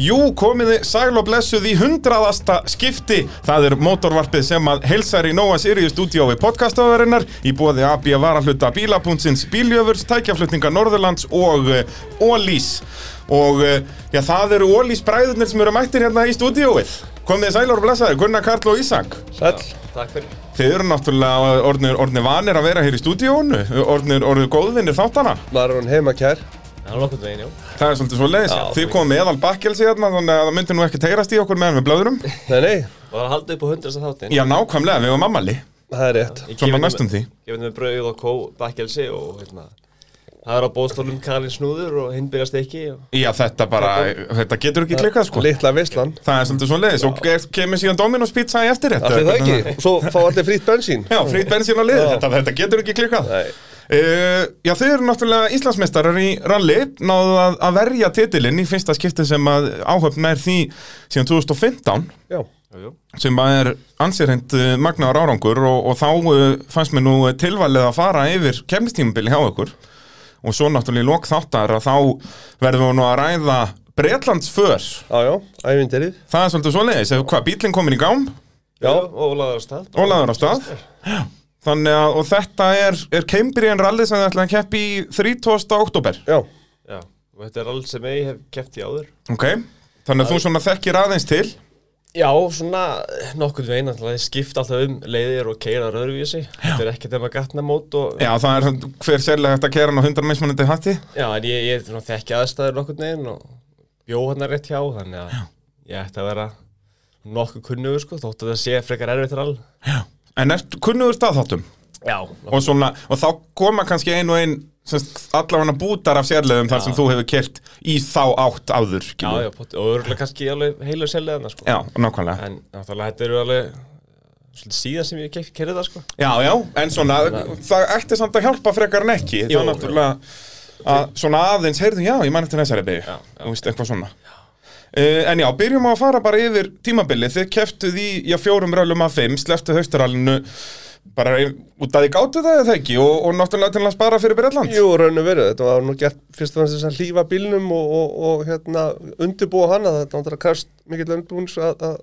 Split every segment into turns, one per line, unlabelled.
Jú, komiði sæl og blessuð í hundraðasta skipti. Það er mótorvarpið sem að heilsar í Nóa Sirius stúdíói podcastaðarinnar í bóði AB varahluta bílapúntsins bíljöfurs, tækjaflutninga Norðurlands og uh, Ólís. Og uh, já, það eru Ólís bræðurnir sem eru mættir hérna í stúdíóið. Komiði sæl og blessaður, Gunnar Karl og Ísak.
Sæll
Takk fyrir
Þið eru náttúrulega orðnir, orðnir vanir að vera hér í stúdíónu, orðnir, orðnir góðvinir þáttana.
Maður er hún heima kær
Það er nokkuð veginn, já
Það er svolítið svo leiðis.
Já,
Þið
þú-
komum með eðal bakkelsi hérna, þannig að það myndi nú ekki teirast í okkur meðan við blöðurum.
Nei, nei,
Var að halda upp á hundrasta þáttin
Já, nákvæmlega, við varum ammali.
það er rétt
Svona næstum því.
Gefið með brauð og kó, bakkelsi og hérna Það er á bóðstólum kalinn snúður og hinn byrjast ekki og...
Já, þetta bara, þetta getur ekki klikkað, sko.
Litla veislan
Það er svolítið svo leiðis. Og er- kemur síðan Dominos pizza í eftirrétt.
Allir það ekki, og svo fá allir frýtt bensín
Já, frýtt bensín á liði, þetta, þetta getur ekki klikkað.
Nei.
Uh, já, þið eru náttúrulega Íslandsmeistarar í rally, náðu að, að verja titilinn í fyrsta skipti sem að áhöfn er því síðan 2015
Já,
Jú, jú.
sem að er ansýrhend magnaðar árangur og, og þá uh, fannst mér nú tilvalið að fara yfir kemnistímabili hjá okkur og svo náttúrulega í lok þáttar að þá verðum við nú að ræða Bretlandsför,
já, já, ævindirið
það er svolítið svoleiðis ef hvað bílinn komin í gám
Já,
og laður stað
og laður á stað Já. þannig að og þetta er, er Cambrian Rally sem þið ætlaði að keppi í 30. oktober
já,
Já, og þetta er allt sem ég hef keppt í áður
ok, þannig að þú svona þekkir aðeins til
Já, svona nokkuð veginn Það skipta alltaf um leiðir og keira röðurvísi Þetta er ekkert þeim að gatna mót og...
já það er svona- hver sérlega hægt að kera hann á 100 mismunandi hatti
Já, en ég, ég svona, þekki aðstæður nokkuð veginn og bjó hann rétt hjá Þannig að ég ætti að vera nokkuð kunnugur sko Þótt að það sé frekar erfitt rall
en ert kunnugur staðháttum
Já,
og, svona, og þá koma kannski ein og ein semst, allavega bútar af sérlegum þar sem þú hefur kert í þá átt áður
Já,
skilur.
já, pott, og örgulega kannski alveg heilu seljaðina, sko.
já, nákvæmlega
En náttúrulega þetta eru alveg svolítið síðan sem ég kef, kerði það, sko.
já, já, en svona, það ætti samt að hjálpa frekar en ekki
Jú,
það er náttúrulega að svona aðeins, heyrðu, já, ég man eftir þessari beigju þú veist, eitthvað svona Uh, en já, byrjum á að fara bara yfir tímabilið Þið keftuð í já, fjórum rölum af fimm Sleftu haustarallinu Bara í- út að þið gátu það eða ekki Og, og náttúrulega til að spara fyrir Bretland
jú, raun og veru Þetta var nú gert fyrst og fremst þess að hlífa bílnum og, og, og hérna, undirbúa hana Þetta var náttúrulega krafst mikill undirbúins að að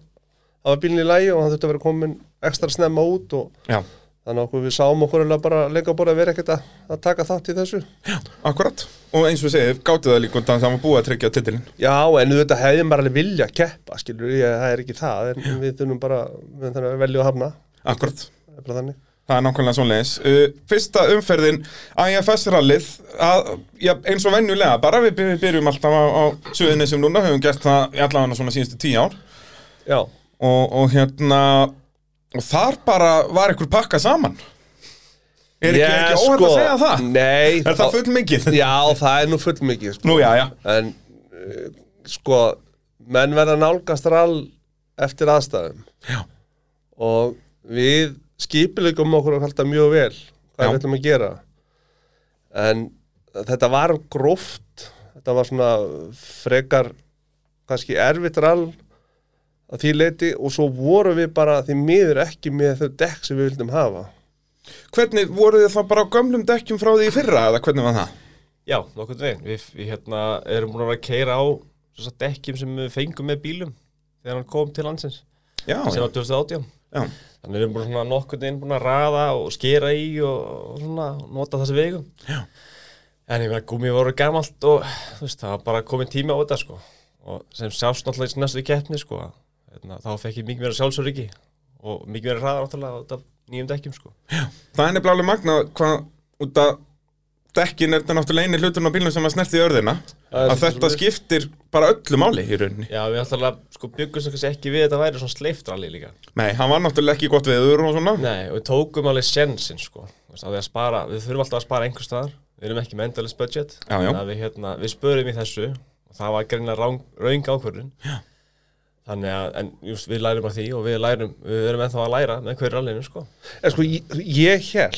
hafa bílinn í lægi og hann þurfti að vera komin ekstra snemma út og
Já,
þannig að okkur við sáum okkur eiginlega bara leika bara að vera ekkert að, að taka þátt í þessu
akkurat Og eins og segið, gátu það líka út að það var búið að tryggja titilin
Já, en auðvitað hefði maður alveg vilja að keppa, skilur ég, það er ekki það, en við þurfum bara, við þurfum að velja að hafna,
Akkurat
það er bara þannig.
Það er nákvæmlega svoleiðis. Uh, fyrsta umferðin IFS-rallið, ja, eins og venjulega, bara við by- byrjum alltaf á, á suðinni sem núna, höfum gert það í allavega svona síðustu tíu ár
Já,
og, og hérna, og þar bara var ykkur pakka saman. Er ekki,
Ég, sko,
ekki óhætt að segja það?
Nei,
Er það full mikið?
Já, það er nú full mikið, sko,
Nú, já, já.
en eh, sko, menn verða nálgast rall eftir aðstæðum
Já.
og við skipilegum okkur að halda mjög vel hvað
Já.
við ætlum að gera en þetta var gróft þetta var svona frekar kannski erfitt rall að því leiti og svo vorum við bara því miður ekki með þau dekk sem við vildum hafa
Hvernig voruð þið þá bara á gömlum dekkjum frá því í fyrra, eða hvernig var það?
Já, nokkuð veginn. Við, við hérna, erum búin að vera að keira á þess að dekkjum sem við fengum með bílum þegar hann kom til landsins,
Já,
sem
já.
var 2018.
já.
Þannig við erum búin svona nokkuð veginn búin að raða og skera í og, og svona nota þessi vegum. Já. En ég meina, gumi voru gamalt og þú veist, það var bara komið tími á þetta, sko. Og sem sást náttúrulega í þessari næstu keppni, sko. að, Hérna, þá fekk ég mikið meira sjálfsöryggi og mikið meira hraða náttúrulega á þetta nýjum dekkjum, sko.
Það er nefnilega alveg magnað hvað út að dekkin er þetta náttúrulega eini hlutun á bílnum sem að snerti í örðina
Það er
að
svolítið
þetta
svoleiðis.
skiptir bara öllu máli í rauninni.
Já, við náttúrulega sko byggumst kannski ekki við að þetta væri svona sleiftralli líka.
Nei, hann var náttúrulega ekki gott veður og svona
Nei, og við tókum alveg sjensin sko. Þú veist, á því að spara, við þurfum alltaf að spara einhver staðar. Við erum ekki með endalist budget.
Já, já.
Þannig að Við, hérna, við spörum í þessu og það var greinlega rang, raung ákvörðun. Já. Þannig að, en just, við lærum af því og við lærum, við erum ennþá að læra með hverju rallinu sko.
En sko, ég, ég held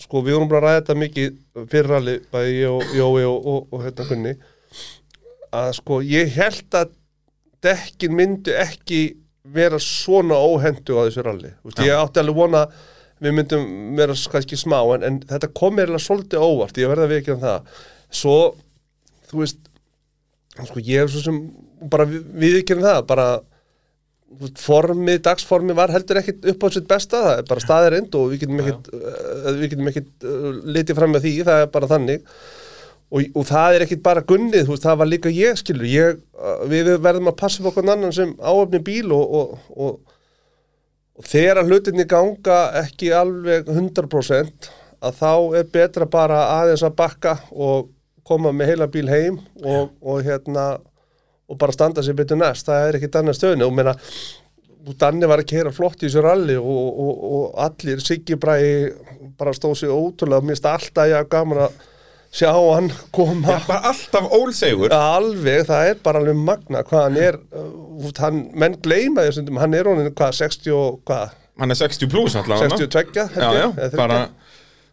sko, við vorum bara að ræða þetta mikið fyrir alveg, bæði ég og Jói og, og, og hérna kunni að sko, ég held að dekkin myndu ekki vera svona óhendu á þessu ralli Þú veist, ég átti alveg vona að við myndum vera s- kannski smá en, en þetta kom mér eiginlega svolítið óvart, ég verða að vikja um það svo, þú veist sko ég hef svo sem bara viðkjörn það bara þú veist, formið, dagsformið var heldur ekkit upp á sitt besta, það er bara staðir end og við getum ekkit, uh, við getum ekkit uh, litið fram með því, það er bara þannig og, og það er ekkit bara gunnið þú veist, það var líka ég skilur ég, uh, við verðum að passa fyrir okkur annan sem áöfni bíl og, og, og, og þegar að hlutinni ganga ekki alveg 100% að þá er betra bara aðeins að bakka og koma með heila bíl heim og, og hérna og bara standa sér betur næst, það er ekkit annað stöðinu og meina, Danni var að keira flott í þessu ralli og, og, og allir Siggi Bræi bara stóð sér ótrúlega, mér finnst alltaf ég gaman að sjá hann koma
Bara alltaf ólsegur
Ja, alveg, það er bara alveg magna hvað hann er, uh, hann, menn gleyma því stundum, hann er honin hvað, 60 og hvað,
Hann er 60 pluss allavega
62 held
Já, já,
ég, eða 30.
bara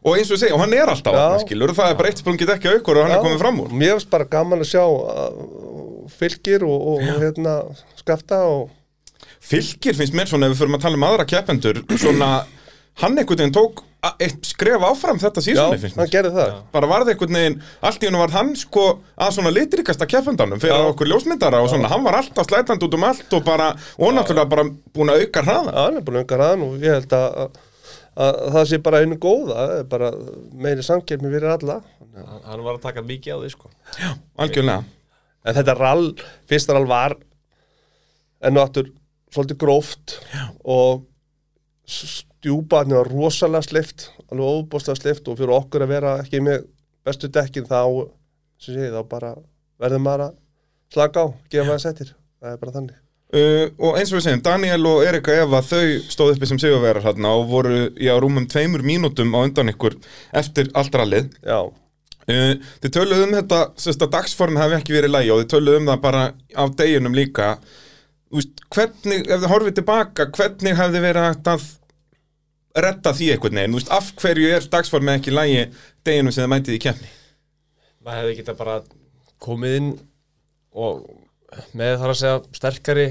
Og eins og ég segi, og hann er alltaf
Já.
hann, skilur Það er bara eitt sprungið ekki að aukur og hann
Já,
er komið fram úr
Mér finnst bara gaman að sjá uh, fylgir og, og hérna skafta og
Fylgir finnst mér svona, ef við förum að tala um aðra keppendur Svona, hann einhvern veginn tók a- eitt skref áfram þetta sísunni finnst
hann
mér
gerði það
Bara varð einhvern veginn, allt í hennu varð hann sko að svona litrikasta keppendanum fyrir okkur ljósmyndara og svona, hann var alltaf slætandi út um allt og bara, og náttúrulega bara búin að auka hraða
Já, hann er búin að unga hraðan og ég held að, að, að það sé bara einu góða, það er bara meiri samkefni fyrir alla.
hann, hann var að taka mikið á því sko
Algjörlega
En þetta rall, fyrsta rall var enn og aftur svolítið gróft Já. og stjúpaðni var rosalega sleift, alveg óbúslega sleift og fyrir okkur að vera ekki með bestu dekkin þá, sem sé, þá bara verður maður að slaka á, gefa maður settir, það er bara þannig.
Uh, og eins og við segjum, Daniel og Erika Eva þau stóð uppi sem sigurverar hérna og voru í að rúmum tveimur mínútum á undan ykkur eftir allt rallið
Já,
uh, þið töluðu um þetta sérst að dagsform hefði ekki verið lægi og þið töluðu um það bara á deginum líka Þú veist, hvernig, ef þið horfið tilbaka hvernig hefði verið hægt að retta því einhvern veginn, Þú veist, af hverju er dagsformið ekki lægi deginum sem þið mætið í keppni
maður hefði geta bara komið inn og með þar að segja sterkari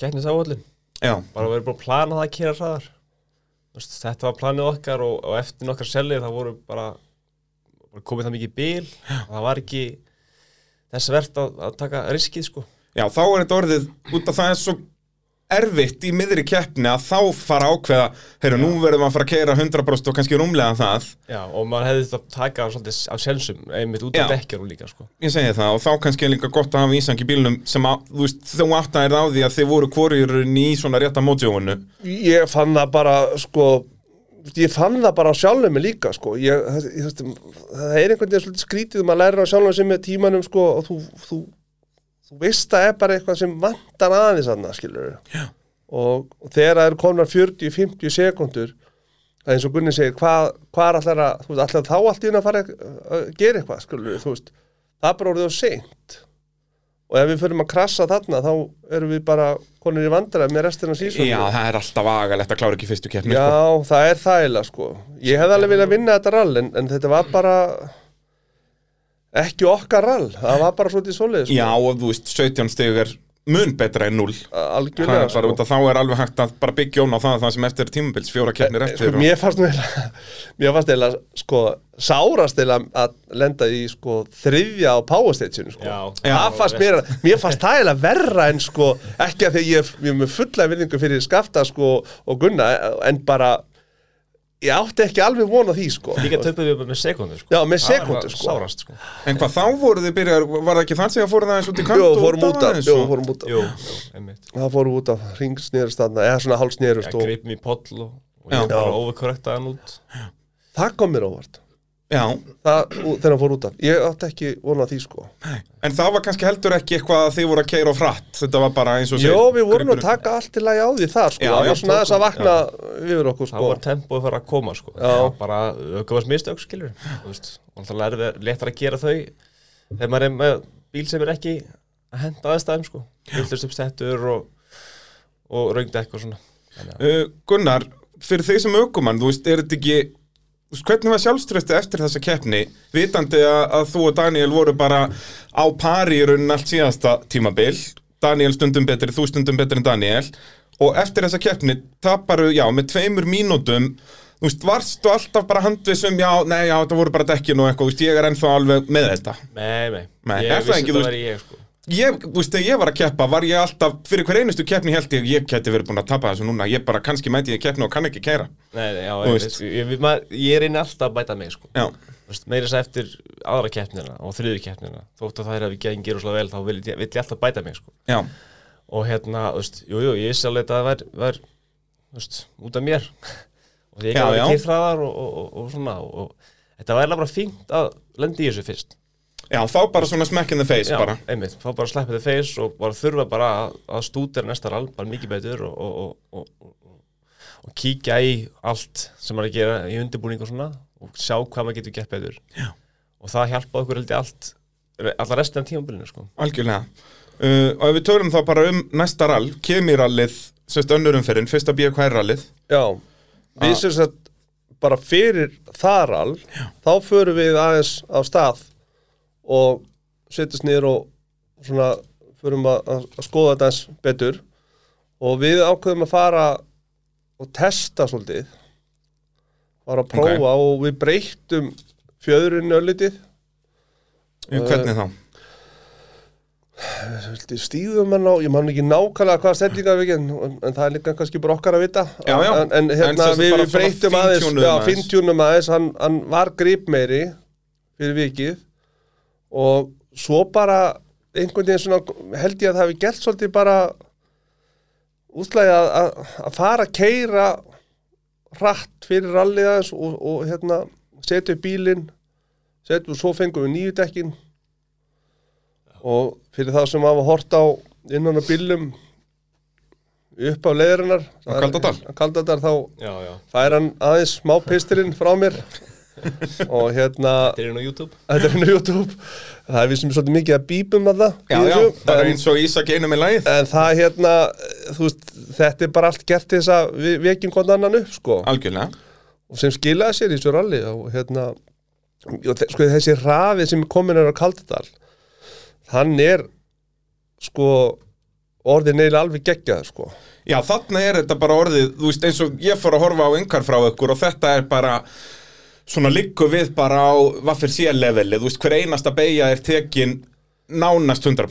keppnisáallin
já,
bara verið búin að plana það að kera hraðar Þú veist, þetta var planið okkar og, og eftir nokkar sellir það voru bara, bara komið það mikið í bíl það var ekki þess verðt að, að taka riskið sko
já, þá er þetta orðið út að það er svo erfitt í miðri keppni að þá fara að ákveða heyrðu, nú verðum við að fara að keira 100% og kannski rúmlega það
Já, og maður hefði þetta að taka á svolítið af sjálfsum einmitt út
Já.
af dekkjarum líka sko
ég segi það og þá kannski er líka gott að hafa ísang í bílnum sem að, þú veist, þú átta er á því að þið voru hvorjurinn í svona rétta mótjóinu
ég fann það bara sko ég fann það bara á sjálfum mig líka sko. ég, það, ég, það, það er einhvern veginn svolítið skrítið maður lærir á sjálfum sem með tímanum sko, og þú, þú, þú veist það er bara eitthvað sem vantar aðeins annað skilur og, og þegar það eru konar 40-50 sekundur það er eins og Gunni segir hvað, hvað er allar að, þú veist, allar þá allt í hún að fara að að gera eitthvað skilur þú veist, það er bara orðið á seint og ef við förum að krassa þarna þá erum við bara konur í vandræð með restina af sísónu
Já, það er alltaf agalegt að klára ekki fyrstu keppni sko.
Já, það er þægilega sko Ég hefði alveg viljað vinna þetta rall en, en þetta var bara ekki okkar rall, það var bara svolítið svoleið sko.
Já, og þú veist, 17 stegur er mun betra en 0 Það
algjörlega sko.
er bara út að þá er alveg hægt að bara byggja ón á það það sem eftir er tímabils, fjóra keppnir
sko,
eftir og...
mér fannst nú eiginlega mér fannst eða sko sárast eða að lenda í sko þriðja á power stageinu sko
Já.
það
Já,
fannst
veist.
mér, mér fannst það eða verra en sko ekki að því að ég, ég er með fulla virðingu fyrir skafta sko og gunna en bara ég átti ekki alveg vona því sko
Líka töpuðum við bara með sekundu sko
Já, með
Það var
sekúndu, sko.
Sárast sko
En hvað þá voru þið byrjar, var það ekki þann sem að fóru það eins út í kant
Jó,
og
fórum út
dafa
af,
aðeins
jó,
og-
fórum út af
Jú, jú, einmitt
það fórum út af ringsnýrust þarna, eða svona hálsnýrust
Já,
og
gripum í poll og, og
Já.
ég bara
Já.
overkorrektaði hann út
það kom mér óvart
Já,
það, og, þegar hann fór út af, ég átti ekki vonað því sko
En það var kannski heldur ekki eitthvað að þið voru að keira á frætt Þetta var bara eins og
Jó,
segir-
við vorum að
gripur-
taka allt í lagi á því það sko,
Já, já,
það var svona aðeins að
tókum,
vakna yfir okkur
það
sko
var tempóið fara að koma sko. það var bara aukaðast mistök skilur Þú veist, og alltaf er það letra að gera þau þegar maður er með bíl sem er ekki að henda aðstæðum sko. villust upp stettur og, og raungdekk og svona Þannig að-
Uh, Gunnar, fyrir þeir sem aukumann, þú veist, er þetta ekki þú veist, hvernig var sjálfströsti eftir þessa keppni vitandi að, að þú og Daniel voru bara á pari í raunin allt síðasta tímabil Daniel stundum betri, þú stundum betri en Daniel og eftir þessa keppni taparu, já, með tveimur mínútum þú veist, varstu alltaf bara handvisum já, nei, já, þetta voru bara dekkin og eitthvað, þú veist, ég er ennþá alveg með þetta
nei, nei,
Nei,
ég
er það
vissi
ekki,
þetta
þú
væri ég sko.
Ég, þú veist, þegar ég var að keppa var ég alltaf, fyrir hver einustu keppni held ég ég geti verið búin að tapa þessu núna, ég bara kannski mæti ég í keppni og kann ekki kæra
Nei, nei, já,
Þú
ég,
veist.
veist, ég, ég, maður, ég reyni alltaf að bæta mig sko.
Já,
Þú veist, meira þess að eftir aðra keppnina og þriðu keppnina þótt að það er að við gengir og slá vel þá vil ég, vill ég alltaf bæta mig sko.
já,
og hérna, þú veist, jú, jú, ég vissi alveg að það var, var þú veist, út af mér og því ég
Já,
gaf
já.
ekki þraðar og, og, og, og svona og, og þetta var eiginlega bara fínt að lendi í þessu fyrst
já, þá bara svona smack in the face bara
einmitt, þá bara sleppið þið feis og bara þurfa bara að, að stúdera næsta rall bara mikið betur og, og, og, og, og, og kíkja í allt sem maður er að gera í undirbúning og svona og sjá hvað maður getur gett betur Já. og það hjálpaði okkur heldur allt alla restina af tímabilinu sko
Algjörlega uh, Og ef við tölum þá bara um næsta rall Kemirallið, sérst önnurumferinn Fyrsta BKR-rallið
Já, við sem sagt bara fyrir þaral Já. þá förum við aðeins af stað og setjast niður og svona förum að, að að skoða þetta eins betur og við ákveðum að fara og testa svolítið fara að prófa og við breyttum fjöðurinn öllitið
Hvernig þá?
stíðum en á, ég man ekki nákvæmlega hvað stemninga við ekki, en, en það er líka kannski bara okkar að vita
Já, já.
en, en
En
hérna
sem sagt
við,
bara
við
svona
breytum aðeins
fíntjúnuðum
já,
aðeins.
fintjúnum aðeins, hann, hann var gripmeiri fyrir vikið og svo bara einhvern veginn svona held ég að það hafi gert svolítið bara útlæði að, að, að fara að keira hratt fyrir rallið aðeins og, og hérna setja upp bílinn setjum svo fengum við nýju dekkin og fyrir það sem hafa hort á innan á bílum upp á leiðurinnar
Á Kaldadal.
á Kaldadal þá
Já, já
fær hann aðeins smá pistirinn frá mér og hérna
Þetta er inn á YouTube
þetta er henni YouTube það er við sem svolítið mikið að bípum að það í
Já, já,
þessu,
það er
en-
eins og Ísak einu með lagið
En það hérna, þú veist, þetta er bara allt gert til þess að við vekjum hvort annan upp, sko.
Algjörlega
Og sem skilaði sér í þessu ralli og hérna, og þe- sko þessi rafið sem komin er á Kaldadal, hann er, sko, orðin eiginlega alveg geggjað, sko.
Já, þarna er þetta bara orðið, þú veist, eins og ég fór að horfa á yngar frá ykkur og þetta er bara svona liggur við bara á vaffir sérleveli, þú veist, hver einasta beigja er tekin nánast 100%.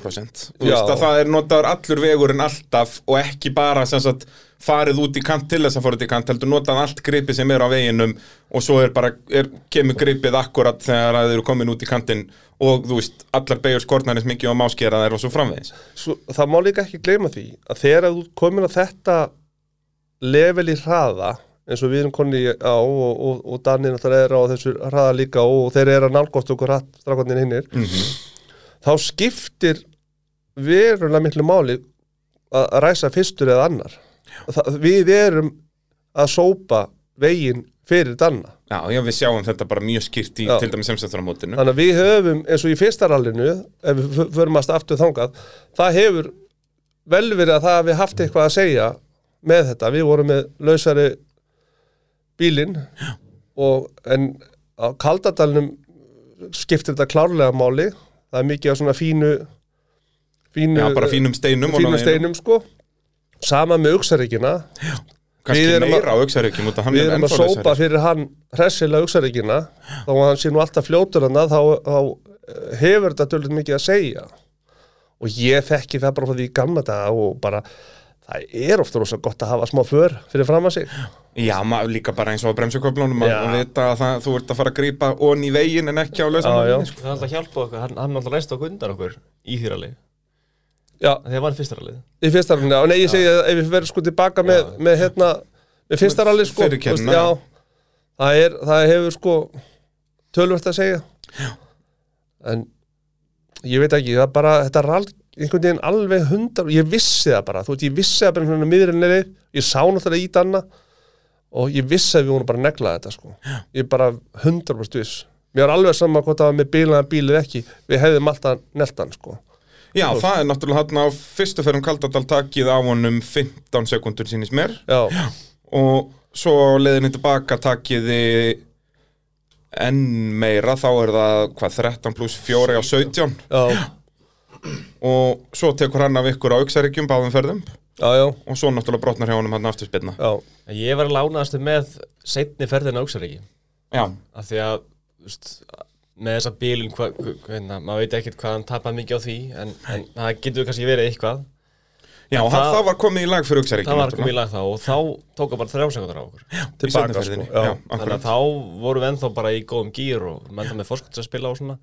Þú
Já.
veist að það er notaður allur vegurinn alltaf og ekki bara sem sagt farið út í kant til þess að fara út í kant, heldur notað allt gripið sem er á veginum og svo er bara, er, kemur gripið akkurat þegar að þeir eru komin út í kantinn og þú veist, allar beigjur skortnarins mikið og máskera þær og svo framvegis.
Svo, það má líka ekki gleyma því að þegar þú ert komin á þetta level í hraða, eins og við erum konni á og, og, og Danir náttúrulega er á þessu hraða líka og, og þeir eru að nálgótt okkur hratt strafkvæmdinn hinnir, þá skiptir verulega miklu máli að að ræsa fyrstur eða annar það, við erum að sópa veginn fyrir danna
Já, já, við sjáum þetta bara mjög skýrt í
Já.
til dæmis semstætturamótinu.
þannig að við höfum eins og í fyrsta rallinu ef við f- förum að aftur þangað það hefur vel verið að það hafi haft eitthvað að segja með þetta, við vorum með lausari bílinn og en á kaldadalnum skiptir þetta klárlega máli það er mikið á svona fínu fínu,
Já, bara fínum steinum og
fínum
náðinum.
steinum sko sama með auksaríkina Við
Kannski
erum að-
meira á auksaríkjum út að hann
við
er
erum að
ennþá
sópa
lausari.
fyrir hann hressilega auksaríkina þá að hann sé nú alltaf fljótur hann þá, þá eh, hefur þetta tölvöld mikið að segja og ég þekki það bara frá því í gamla daga og bara það er ofta rosa gott að hafa smá för fyrir fram að sig
Já, maður líka bara eins og á bremsuköflunum
Já.
að vita að það, þú ert að fara að grípa onni í veginn en ekki á
Já, já.
lausanum
Það er alltaf að hjálpa okkur, hann, hann alltaf reist okkur undan okkur í þýralið,
já,
þegar var hann fyrsta rallið
í fyrsta rallinu, já, nei ég segi að ef við verðum sko tilbaka með, með hérna, með fyrsta
Með
rallinu sko,
fyrri
þú veist,
keppnina, já.
já, það er, það hefur sko tölvöld að segja, já en ég veit ekki, það bara, þetta rall einhvern veginn alveg hundar, ég vissi það bara þú veist, ég vissi það bara hérna miðrinni leið, ég sá náttúrulega í danna og ég vissi að við vorum bara að negla þetta sko ég er bara hundar bara stuðis mér var alveg saman hvort það var með bílaðan bílið ekki við hefðum alltaf neltan sko
Já, það er náttúrulega hann á fyrstu ferðum Kaldadal takið á honum 15 sekundur sínist mér
já.
og svo á leiðinni tilbaka takiði enn meira, þá er það hvað, 13 pluss 4 á 17
já,
og svo tekur hann af ykkur á auksaríkjum báðum ferðum
já, já,
og svo náttúrulega brotnar hjá honum hann aftur spilna
já.
Ég var að lánaðastu með seinni ferðin á Öksaríki
Já,
af því að þú veist, með þessa bílun, hva, hva, hva, maður veit ekkert hvað hann tapar mikið á því, en, en það getur kannski verið eitthvað.
Já,
En
það,
það-
það var komið í lag fyrir Uxaríkjum
Það var komið í lag þá og þá tók hann bara þrjásekundur á okkur.
Tilbaka, sko, já.
Já,
Þannig
akkurat
að þá vorum við ennþá bara í góðum gýr og menn það með fórskot að spila og svona.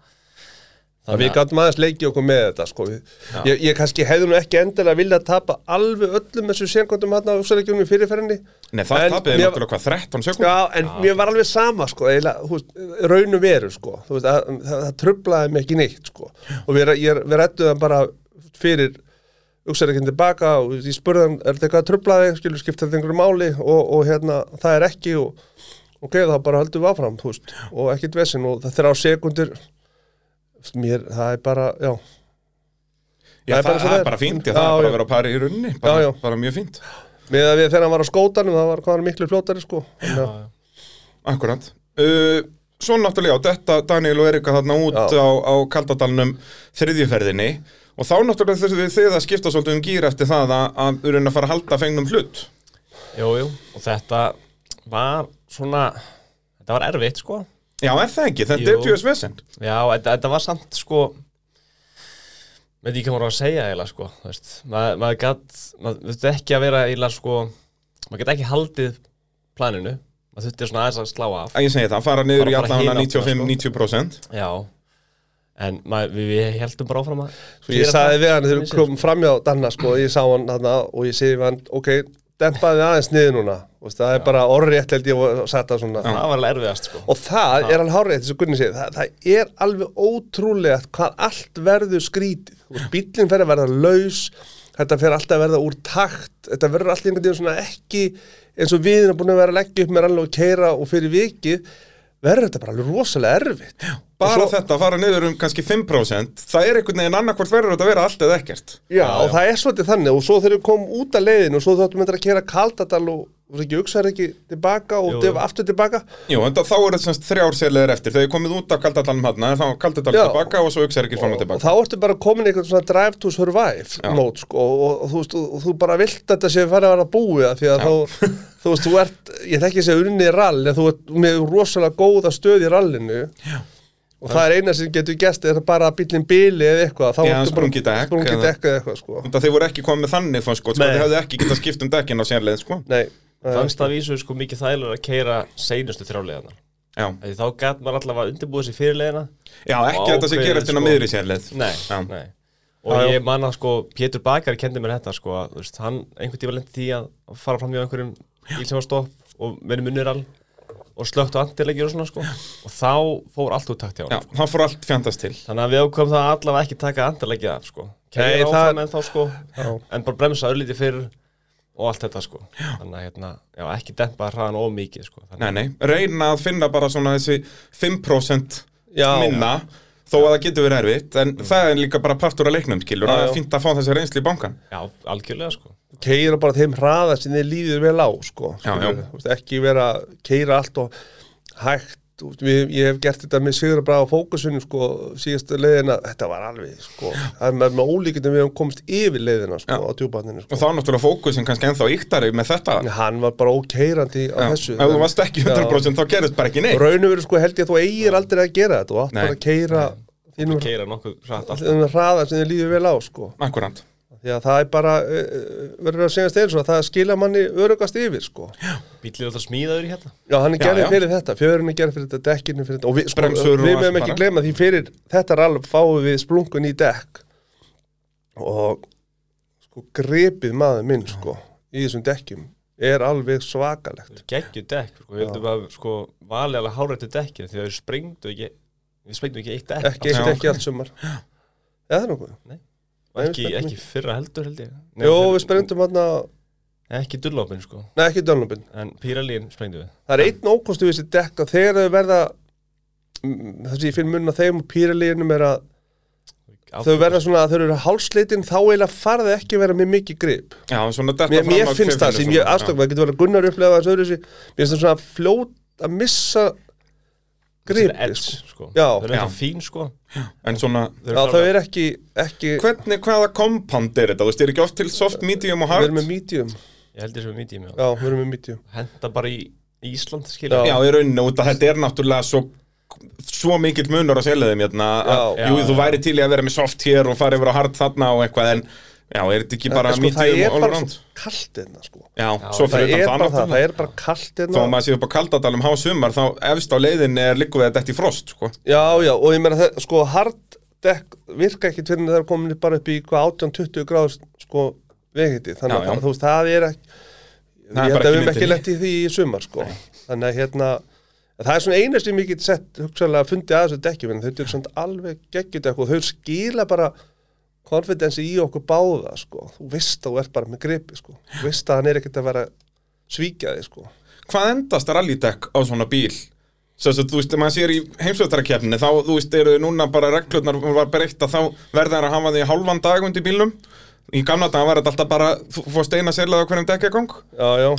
Þannig við gáttum aðeins leikið okkur með þetta sko. Við- ég, ég kannski hefði nú ekki endilega viljað tapa alveg öllum þessu senkundum hann á uppsæðleikjum í fyrirferðinni
Nei, það
En
tapiði
mér-
náttúrulega hvað 13 sekund
Já, en mér var alveg sama sko, eiginlega, þú veist, raun og veru sko, þú veist, að, það, það trublaði mig ekki neitt sko, og við, ég, við rettum það bara fyrir hugsaðarikinn tilbaka og ég spurði hann, er þetta eitthvað að trublaði, skilur skipta þetta einhverju máli og, og hérna, það er ekki og ok, þá bara höldum við áfram, þú veist, og ekkit vesinn og það þrjá sekundur, mér, það er bara, já,
Já,
það er
það
bara svo
það
það
er
er.
bara fínt, já,
Já,
það er bara
já.
að vera á pari í runni bara,
Já, já.
bara mjög fínt,
með að við þegar hann var á skótanum, það var hvað hann miklu fljótari sko, þannig að-
akkurat uh, Svo náttúrulega, já, þetta Daniel og Erika þarna út
Já.
á, á kaldadalnum þriðjuferðinni og þá náttúrulega þurfið þið að skipta svolítið um gýr eftir það að, að, að, að fara að halda fengnum hlut
Jú, jú, og þetta var svona, þetta var erfitt sko.
Já, er það ekki, þetta
Jú.
er tjóðis vesend
Já, þetta, þetta var samt sko veit ekki hvað maður á að segja eiginlega sko, þú veist, maður, maður gat maður þurfti ekki að vera eiginlega sko maður gat ekki haldið planinu maður þurfti svona aðeins að slá af
Ég segi það, fara niður
Bara
í
fara
allan hana
hina áttina,
sko.
95-90%
Já, en maður, við, við heldum bara áfram að
Svo ég
gera
sagði
það
við hann þegar við
sem
komum framjá Danna sko, ég sá hann þarna og ég segi við hann, ok, dempaði aðeins niður núna, Þú veist, það er bara orðrétt held ég og satt það svona.
Það var alveg erfiðast sko
Og það er hann hárrétt, þess að Gunni segi, það, það er alveg ótrúlega hvað allt verður skrítið, Þú veist, bíllinn fer að verða laus, þetta fer alltaf að verða úr takt, þetta verður alltaf einhvern veginn svona ekki eins og við erum búin að vera að leggja upp með alveg að keira og fyrir vikið, verður þetta bara alveg rosalega erfitt.
Bara
Og svo-
þetta að fara niður um kannski 5% það er einhvern veginn annarkvort verður þetta að vera allt eða ekkert
Já, og það er svolítið þannig og svo þegar við komum út af leiðinu og svo þáttum við að kera Kaldadal og og ekki hugsaður ekki tilbaka og
Jú,
def,
jú.
aftur tilbaka
Jú, en þá eru þetta semst þrjár sérlegar eftir Þegar ég komið út af kaldadalum hann Þá kaldadalum
Já.
tilbaka og svo auksar ekki fram og
og,
tilbaka
þá ertu bara komin í eitthvað svona drive to survive mót sko og, og, og, þú veist, og, og þú bara vilt að þetta sé farið að vera búið af því að þá, þú veist, þú ert ég þekki sé unni í rall en þú ert með rosalega góða stöð í rallinu Já. og það er eina sem getur gæst er bara að bíllinn bíli eða eitthvað þá
Já,
ertu bara-
sprungið dekk
sprungið
eða-
dekk eða eitthvað sko
Það þeir voru ekki komið þannig fannst, sko, sko
Nei.
Þeir hefðu ekki getað skipt um dekkin á sérlegin sko.
Nei, eh,
Fannst það vísu sko mikið þægilega að keira seinustu þrjáleganar
Já.
Því þá gat maður allavega undirbúið sér fyrirlegina
Já, ekki
Vá,
þetta sem
hver er,
gerist inn á
sko.
miðri sérleið
Nei,
Já.
nei Og
Já, já.
ég man að sko, Pétur Bakari kendi mér þetta sko, að, þú veist, hann einhvern tíma lendi því að að fara fram hjá einhverjum bíl sem var stopp og verið munir all og slögt á antileggjur og svona sko og þá fór allt út takt hjá
Já,
hann sko.
það fór allt fjandast til
þannig að við ákvæmum það allavega ekki taka antileggja af sko
Nei,
kegja
það-
áfram en þá sko en bara bremsa örlítið fyrr og allt þetta sko já. þannig að hérna, já, ekki dempa hraðan of mikið sko þannig,
Nei, nei, reyna að finna bara svona þessi 5%
Já.
minna Þó að það getur verið erfitt En það er líka bara partur af leiknum skilur Það
já.
er fínt að fá þessi reynsli í bankan
já, algjörlega sko
keira bara þeim hraða sem þið líður vel á sko,
Já, já.
Skilurðu, þú veist, ekki vera að keira allt og hægt þú veist, við, ég hef gert þetta með Sigur Braga fókusunum sko, síðastu leiðina, þetta var alveg sko, það er með, með ólíkundum við höfum komist yfir leiðina sko,
Já.
á djúbarninu
Og
sko.
þá er náttúrulega fókusin kannski ennþá yktari með þetta
En hann var bara ókeirandi á
Já.
þessu
Ef þú varst ekki 100% þá gerist bara ekki neitt
raunum verið sko held ég að þú eigir aldrei að gera þetta og átt
Nei.
bara að keira þínum
keira nokkuð hratt alltaf
þínum hraða sem þið líður vel á sko.
Akkurant
því að það er bara eh, eh, verður að segja steins og það skilja manni örugast yfir sko.
bílir alltaf smíðaður í hérna
Já, hann er
Já,
gerðið
já.
fyrir þetta, fjörun er gerðið fyrir þetta, dekkinu fyrir þetta og við, sko,
Bremsur og
við
allt
meðum ekki
bara.
gleyma því fyrir þetta rall fáum við splunkun í dekk og sko grepið maður minn sko í þessum dekkjum er alveg svakalegt
geggju dekk sko, við heldum að sko valið alveg hárættu dekkin því að við sprengdu ekki við sprengdu ekki eitt dekk
ekki eitt
Já.
dekki allt sumar Já, það er nokkuð
Og
nei,
ekki,
við sprengdum
ekki fyrra heldur held ég Nei,
Jó,
fyrra-
við sprengdum hann að,
ekki dullopin sko
nei ekki Dönlubin
en píralín sprengdu við
Það er einn ókostu við þessi dekk að þegar þau verða mm, það sem ég finn munna þeim og pýraliðinum er að þau verða svona að þau eru hálsleitin þá eiginlega farði ekki að vera með mikið grip
Já, svona detta
mér,
fram
mér
af
finnst
kaupinu
það sem
svona,
ég aðstökk það getur verið að Gunnar upplega þessu öðru mér finnst það svona fljót að missa gripi
edge
sko.
sko
Já.
þau eru
Já.
það fín sko
já. En svona,
já þau er ekki, ekki við
hvernig, hvaða kompand er þetta? Þú veist, er ekki oft til soft, medium og hard?
erum með medium já,
ég held þess að við mítið mig
við erum með medium
henda bara í Ísland skilja
Já, í rauninni, út að þetta er náttúrulega svo svo mikill munur á seliðum hérna, að,
Já.
jú,
Já,
þú væri til í að vera með soft hér og fara yfir á hard þarna og eitthvað en já, er þetta ekki bara
En sko, það
medium
er
all
bara
around?
svo kallt einna sko
Já, svo
það
fyrir
er
utan
bara
það,
það, það
náttúrulega.
er bara hérna. kallt
þó að
einna
maður sé upp á kaldadalum há sumar þá efst á leiðin er líku við að detti frost sko.
já, já, og ég meina það, sko harddekk virka ekki fyrir það er komin bara upp í hvað 18-20 gráð sko vegiti, þannig
Já,
að
já.
það, þú veist, það er ekki
Það er
ég
bara ekki
held að við erum ekki
myndinni.
lett í því í sumar sko þannig að hérna en það er svona eina sem ég get sett hugsaðlega fundið að þessu dekkjum en þau eru samt alveg geggjudekk og þau skila bara konfidensi í okkur báða sko þú veist að þú ert bara með gripi sko þú veist að hann er ekkert að vera svíkjaði sko
hvað endast rallydekk á svona bíl Svo að þú veist, ef maður sér í heimsvöldarakefni þá, þú veist, eru núna bara reglurnar var breytt að þá verða þær að hafa því hálfan dag undir bílnum í gamla dag var þetta alltaf bara, þú þú fórst eina selað á hverjum dekkagong
já, já,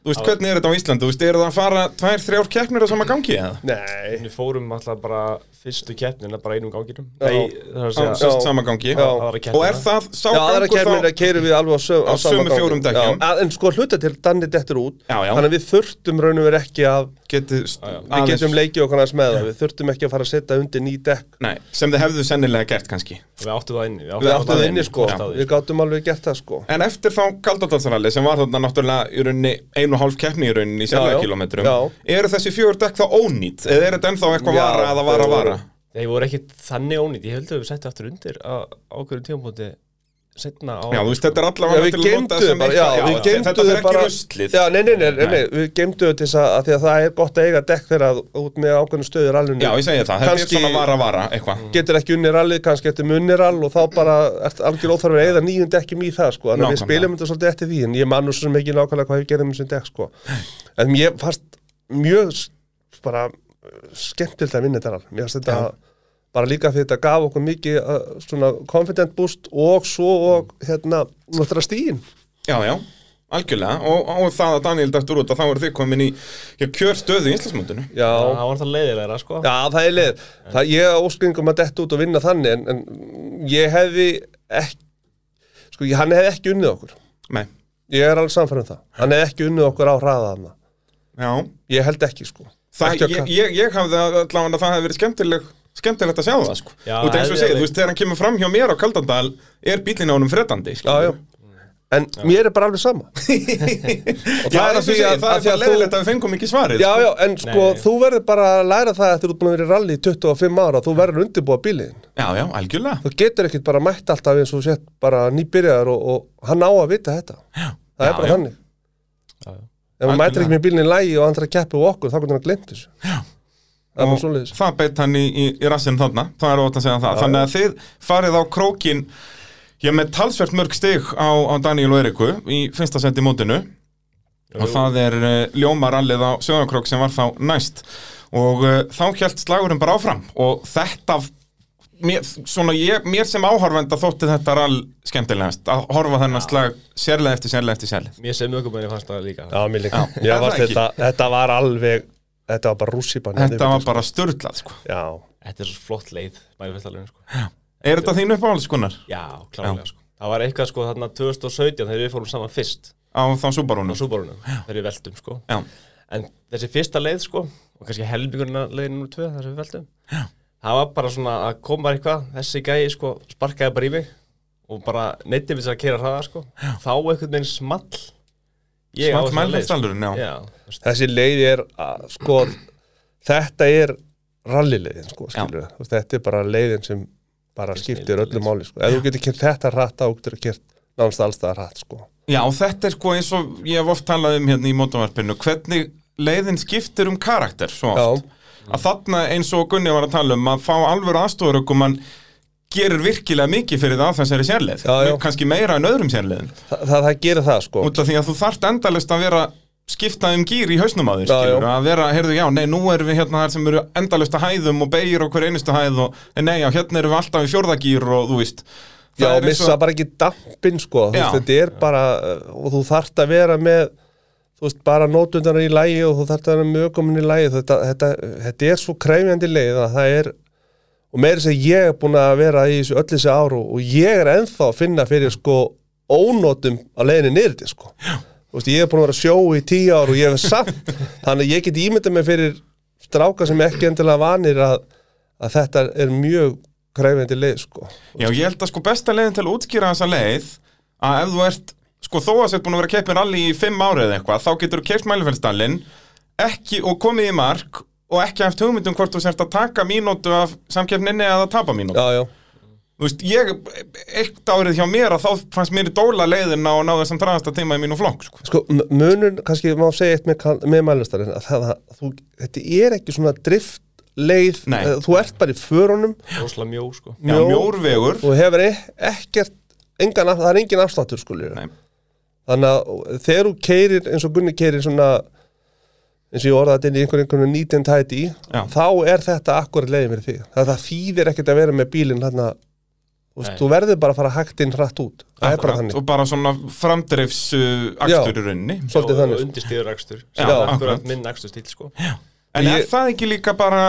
Þú veist, hvernig er þetta á Íslandi? Þú veist, eru það að fara tvær, þrjár keppnir á sama gangi eða?
nei
Við fórum alltaf bara fyrstu keppnina bara einum ganginum
Já.
Nei, það er að
Á
segja
sérst sama gangi?
Já.
aðra
Og er
keppnina.
það sá
Já, aðra kermin
gangur
að keiri við alveg á, söm,
Á sömu fjórum dekkjum.
já, að- En sko hluta til danni dettur út
Já, já.
Þannig að við þurftum raunum verið ekki að
þá geti
Við
aðeins
getum leikið okkur aðeins með það Við þurftum ekki að fara að setja undir ný dekk
Nei, sem þið hefðu sennilega gert kannski
Við áttum það inni
Við
Við
áttum
áttum það inni sko,
Við áttum það
við
inni,
gátum alveg gert það sko
En eftir þá Galdardalsralli sem var þarna náttúrulega í rauninni einu og hálf keppni í rauninni í
Já, já.
selvakilometrum
Já.
Eru þessi fjögur dekk þá ónýtt? Eða er þetta ennþá eitthvað
Já,
vara að það vara að
þau
vara?
voru-
Þeir voru ekki þannig ónýtt, ég held að við settum aftur undir á ákveðum tímapunkti setna á
Já, þú veist, þetta er
Já,
allavega
við
til að nota
geymdu þau
sem
bara,
eitthvað-
já, við
já,
geymdu
Þetta
þau
er ekki
bara-
ruslið
Já, nei, nei, nei, nei,
Nei.
nei. við geymdu þau til þess að, að því að það er gott að eiga dekk þegar að út með ákveðnum stöður allunni
Já, ég segi það, þetta er
Kannski-
svona vara að vara, eitthvað
Getur ekki unni rallið, kannski eftir munni rall og þá bara ert algjör óþarfur að eigða nýjum dekkjum í það sko, þannig að við
Nákvæmlega.
spilum þetta svolítið eftir því en ég man nú svo mikið nákvæmlega hvað við gerðum þessum dekk sko en mér fannst mjög s- bara uh, skemmtilegt að vinna þetta rall mér fannst þetta bara líka því þetta gaf okkur mikið uh, svona confident boost og svo og hérna, náttúrulega stíin
Já, já, algjörlega og, og það að Daniel dættur út að þá eru þið komin í já, kjörstöðu í Íslandsmótinu
Það var alltaf leiðilega, sko
Já, það er leið. Það, ég óskengum að detta út og vinna þannig en, en ég hefði ekki, sko, ég, hann hefði ekki unnið okkur.
Nei,
Ég er alveg samfærum það. Hann hefði ekki unnið okkur á hraða þarna.
já
Ég held ekki, sko.
það,
ekki
ég, ég, ég hafði allavega að það hefði verið skemmtileg skemmtilegt að sjá það sko
Já,
Út eins og segið,
hefði alveg-
þú veist, þegar hann kemur fram hjá mér á Kaldandal er bílinn á honum sko. fredandi
Já, já. En mér er bara alveg sama.
og
það
það
er
er
að því
að, það er
að- að því
bara
að þú-
leiðilegt að við fengum ekki svarið
Já, já, en sko,
Nei.
þú verður bara að læra það eftir þú ert búin að vera í rally í 25 ára, þú verður að undirbúa bíliðin.
já, já, algjörlega
Þú getur ekkit bara mætt alltaf eins og sett bara nýbyrjaðar og, og hann á að vita þetta. Já. Það
Já,
er bara
já.
þannig.
Já, já.
Ef hann mætir
Algjörlega.
ekki með bílinni lægi og hann þarf að keppa við okkur, þá getur hann að glemt þessu. Já. Það er bara
og
svoleiðis.
það beitt hann í, í, í rassinu þarna það er ótt að segja það, þannig að þið farið á krókin ég með talsvert mörg stig á, á Daniel og Eriku í finnsta seti mótinu og það er uh, ljómarallið á Söðakrók sem var þá næst og uh, þá hjælt slagurinn bara áfram og þetta mér, svona, ég, mér sem áhorfenda þótti þetta rall skemmtilegast að horfa þennan slag sérlega eftir sérlega eftir sérlega
Mér sem ökumenni fannst það líka
Já, mér líka.
Já,
Já,
það ekki.
þetta, þetta var alveg, þetta var bara rússipan.
þetta var bara störtlað sko.
Já,
Þetta er svo flott leið, bæði fyrst alveg sko.
er þetta þín uppáhaldskunar
Já, klárlega sko Það var eitthvað sko þarna 2017 þegar við fórum saman fyrst
á þá
á
Subarunum
Subarunum, þegar við veltum sko
já,
En þessi fyrsta leið sko og kannski helmingurna leið nr. 2 þar sem við veltum Já. Það var bara svona að koma eitthvað þessi gæi sko sparkaði bara í mig og bara neytti mér sér að kera hraða sko Já. þá einhvern veginn small Ég á
smalt
þessa leið, sko.
mælfæstallurinn já.
Já, þú veist,
þessi leið er, að, sko, þetta er rallileiðin, sko, skilur við. Þetta er bara leiðin sem bara skiptir öllu máli, sko. Ef þú getur kert þetta hratt, þá getur þú kert nánast allstaðar hratt, sko.
já, þetta er sko eins og ég hef oft talað um hérna í mótavarpinu hvernig leiðin skiptir um karakter svo oft
Já,
að þarna eins og Gunni var að tala um að fá alvöru aðstofarökum mann gerir virkilega mikið fyrir það að þessari sérleið
Já, já.
kannski meira en öðrum sérleiðin
það, það, það gerir það, sko.
út af því að þú þarft endalist að vera skipta um gýr í hausnum að þér
Já,
skilur,
já.
að vera, heyrðu, já, nei, nú erum við hérna þar sem eru endalist að hæðum og beigir okkur einustu hæð og, nei, já, hérna erum við alltaf í fjórðagýr og þú veist
Já,
Það er eins
missa bara ekki dampin sko þú
Já.
veist, þetta er bara, uh, og þú þarft að vera með þú veist, bara nótundana í lægi og þú þarft að vera með ökumin í lægi þetta, þetta, þetta er svo kreifjandi leið að það er, og meira þess að ég er búin að vera í þessu öll þessi áru og ég er ennþá að finna fyrir sko ónótum á leiðinni nýrði sko Já. þú veist, ég er búin að vera að sjó í tíu áru og ég hef samt, þannig að ég get ímyndað mig fyrir stráka sem ekki endilega vanir að, að þetta er mjög kræfindi leið sko.
Já, ég held að sko besta leiðin til að útskýra þessa leið að ef þú ert, sko þó að þú ert búin að vera keppin allir í fimm árið eða eitthvað þá getur þú keipt mælifellstallinn ekki og komið í mark og ekki haft hugmyndum hvort þú sért að taka mínútu af samkeppninni eða að tapa mínútu
Já, já,
Þú veist, ég, eitt árið hjá mér að þá fannst mér í dóla leiðina og náðu þessum draðasta tíma í mínu flokk, sko
sko m- munur, kannski má segja eitt með, kal- með mælustarinn að það, að þú, þetta er ekki svona drift leið,
Nei.
þú ert bara í förunum
Róslega mjó, sko
Já, mjórvegur
og hefur e- ekkert engan, af- það er engin afsláttur sko líka.
Nei.
þannig að þegar þú keirir eins og Gunni keirir svona eins og ég orðaði þetta inn í einhvern einhvern nýtinn tæti
Já.
þá er þetta akkurat leiðin fyrir því það, það þýðir ekkert að vera með bílinn þarna, þú veist,
Nei.
þú verður bara að fara hægt inn hratt út það er bara
Akkurat,
þannig
og bara svona framdreifs uh, akstur í rauninni
Svolítið
Og-
þannig. sko.
Og undirstýður akstur
Já,
Sem er
akkurat.
akkurat minn akstur sko
En
Ég-
er það ekki líka bara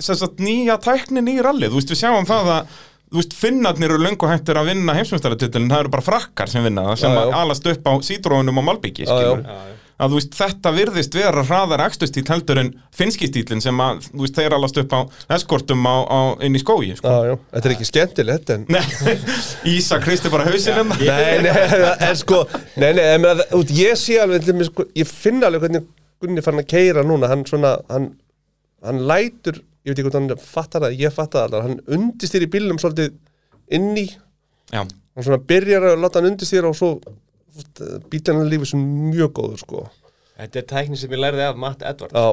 sem sagt, nýja tæknin í rallið? Þú veist, við sjáum það að þú veist, finnarnir eru löngu hættir að vinna heimsmyndstaratitilin, það eru bara frakkar sem vinna það, sem
Já,
já,
já.
alast upp á sítróunum og malbyggi,
Já, já.
skilur.
Já, já
Að þú veist, þetta virðist vera hraðar akstustíl heldur en finnski stílinn sem að, þú veist, þeir alast upp á eskortum á, á inn í skói, sko.
já, já. þetta er ekki skemmtilegt en
Nei, Ísa kristi bara hausinn hérna. en
Nei, nei, það er sko Nei, nei, en að, út, ég sé alveg til mér sko, Ég finn alveg hvernig Gunni fann að keira núna Hann svona, hann, hann lætur Ég veit ekki hvort hann fattar það, ég fattar það alveg, Hann undistýri bílnum svolítið inn í
Já,
Hann svona byrjar að láta hann undistýra Og svo út, bílinn hann lífið sem mjög góður sko
Þetta er tækni sem ég lærði af Matt Edward
Já,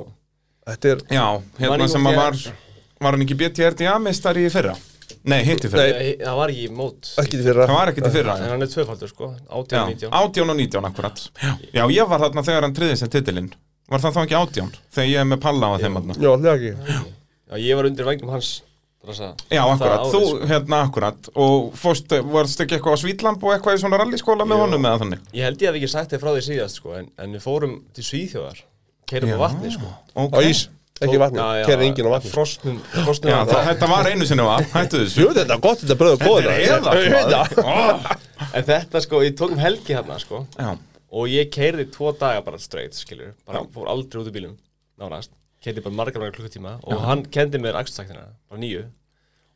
þetta er
já,
Var
hérna
ég
sem að
ekki-
var, var hann ekki BTRDA-meistari í fyrra? Nei, hitt í fyrra.
Nei.
Ég- Það var ég í mót
ekki til fyrra
Það var ekkert í fyrra.
En hann er tvöfaldur sko, 18 og
Já,
19
18 og 19 akkurat Já, ég var þarna þegar hann triði sér titilinn Var það þá ekki 18? Þegar ég er með palla á þeim þarna
Já, allir ekki
Já, ég var undir vægnum hans brasa.
Já,
Það
akkurat,
árið,
þú
sko.
hérna akkurat Og fórst, varst ekki eitthvað á Svítlamb og eitthvað í svona rallyskóla með
Jú.
honum eða þannig
Ég held ég hef ekki sagt þér frá því síðast sko, en, en við fórum til Svíþjóðar Keirum á vatni sko
Á
okay.
ís, ekki vatni,
Já, já,
keira enginn á vatni
Frosnum, frosnum
Já,
já,
það, þetta var einu sinni var, hættu þessu
Jú, þetta er gott, þetta er bröðu góður
Þetta er eðalt, maður.
En þetta sko, ég tók um helgi hérna sko
Ó, Já,
Og ég keirði tvo daga bara straight, skiljur Bara fór aldrei út í bílum, nánast Keirði bara margar margar klukkutíma Og hann kendi mér akstaktina, bara nýju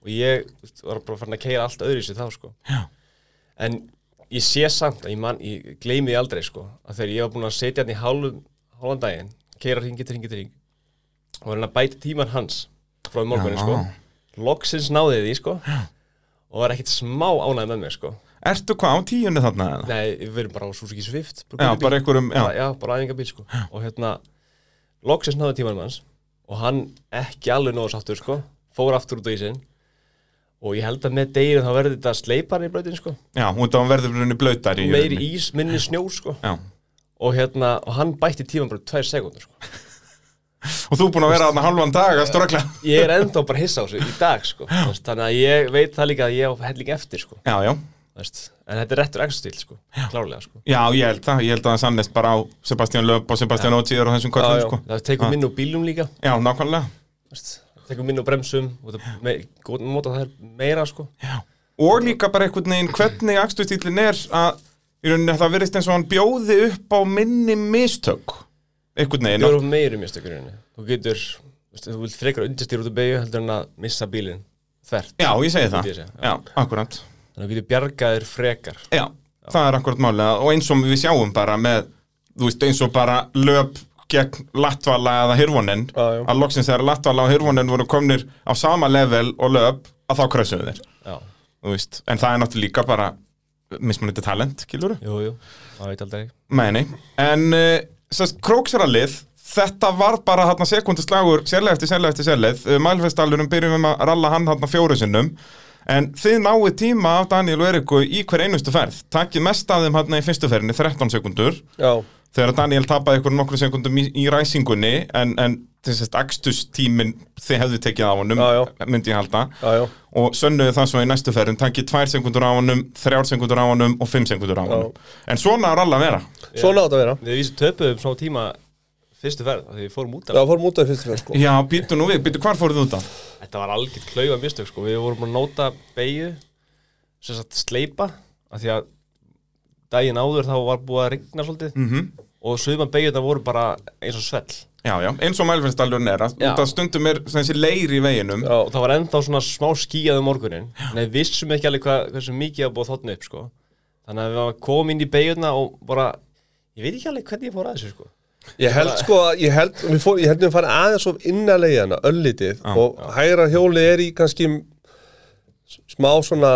Og ég þú veist, var bara farin að keira allt öðru í sér þá sko
Já.
En ég sé samt að ég mann, ég gleymi því aldrei sko Að þegar ég var búin að setja hann í hálfum, hálfan daginn Keira hringi til hringi til hringi Og var hann að bæta tíman hans Frá morgunni
Já.
sko Loksins náði ég því sko Og var ekkert smá ánægð með mér sko
ertu hvað á tíunni þarna? eða?
Nei, við verðum bara á Suzuki Swift
Já, bara einhverjum,
já.
já,
já, bara æfingabíl sko og hérna, loksins náðu tímanum hans og hann ekki alveg nóðu sáttur sko, fór aftur út á ísinn og ég held að með deginu þá verði þetta sleipar í brautin sko,
já, hún þá verður henni blöytar í
meiri
rauninni.
ís, minni snjó sko
Já,
og hérna, og hann bætti tíman bara tvær sekundur sko,
og þú er búin að vera þarna halvan dag að ströggla
ég er ennþá bara hissa á þessu í dag sko, Þú veist, þannig að ég veit það líka að ég á helling eftir sko,
Já, já,
Þú veist, en þetta er réttur ekstastíl sko, klárlega sko
Já, ég held það, ég held að það sannist bara á Sebastian Löp og Sebastian Ogier og þessum kvöldum,
Já, já.
sko.
það tekur minn úr bílum líka
Já, nákvæmlega.
þú veist, það tekur minn úr bremsum og það me, góð móta það er meira sko
Og líka bara einhvern veginn hvernig akstuðstílinn er að, í rauninni að það virðist eins og hann bjóði upp á minni mistök. Einhvern
Þú
veginn.
eru meiri mistökur í rauninni Þú getur, veistu, þú vilt frekar undirstýra út af beigju heldur en að missa bílinn þvert
Já, ég segi
Myndi
það.
ég segja,
Já, akkurat.
Þannig að þú getur bjargað þér frekar
Já, það er akkurat málið og eins og við sjáum bara með, þú veist, eins og bara löp gegn Latvala eða Hirvonin,
Já, já.
að loksins þegar Latvala og Hirvonin voru komnir á sama level og löp, að þá krössuðu þeir.
Já,
þú veist, en það er náttúrulega líka bara mismunandi talent, kilur
jú, jú, það veit aldrei
meini, en uh, sérst, króksrallið, þetta var bara hérna sekundaslagur, sérlega eftir sérlega eftir sérleið, uh, mælfestalurum byrjum við að ralla hann hérna fjóru sinnum en þið náið tíma af Daniel og Eriku í hver einustu ferð, takkið mest af þeim hérna í fyrstu ferðinni, 13 sekundur
Já,
þegar Daniel tapaði ykkur nokkru sekundum í, í ræsingunni en, en þessast akstustímin þið hefðu tekið á honum,
Já,
myndi ég halda
já, já
og sönnuðu það svo í næstu ferðum takkið tvær sekundur á honum, þrjár sekundur á honum og fimm sekundur á honum en svona er alla að vera
Svona átt að vera
Við vísum töpuðum smá tíma fyrstu ferð af því við fórum út af
Já, fórum út af fyrst fyrir sko
já, býttu nú við, býttu hvar fóruð þú út af
Þetta var algjörn klauga mistök sko Við vorum að nóta beigju sem sagt sleipa af því að daginn áður þá var búið að rigna svolítið
Mhm.
og sögum að voru bara eins og svell
Já, já, eins og mælfinnstallurinn er að,
Já.
út að stundum er þessi leir í veginum
Já, það var ennþá svona smá skíjað um morgunin en við vissum ekki alveg hvað, hversu mikið að búa þotna upp sko. þannig að við varum komin inn í beiguna og bara, ég veit ekki alveg hvernig ég fór að þessu sko.
Ég held sko að, ég held, við fór, ég held við farið aðeins of innarleigana, öllitið og hægra hjóli er í kannski smá svona,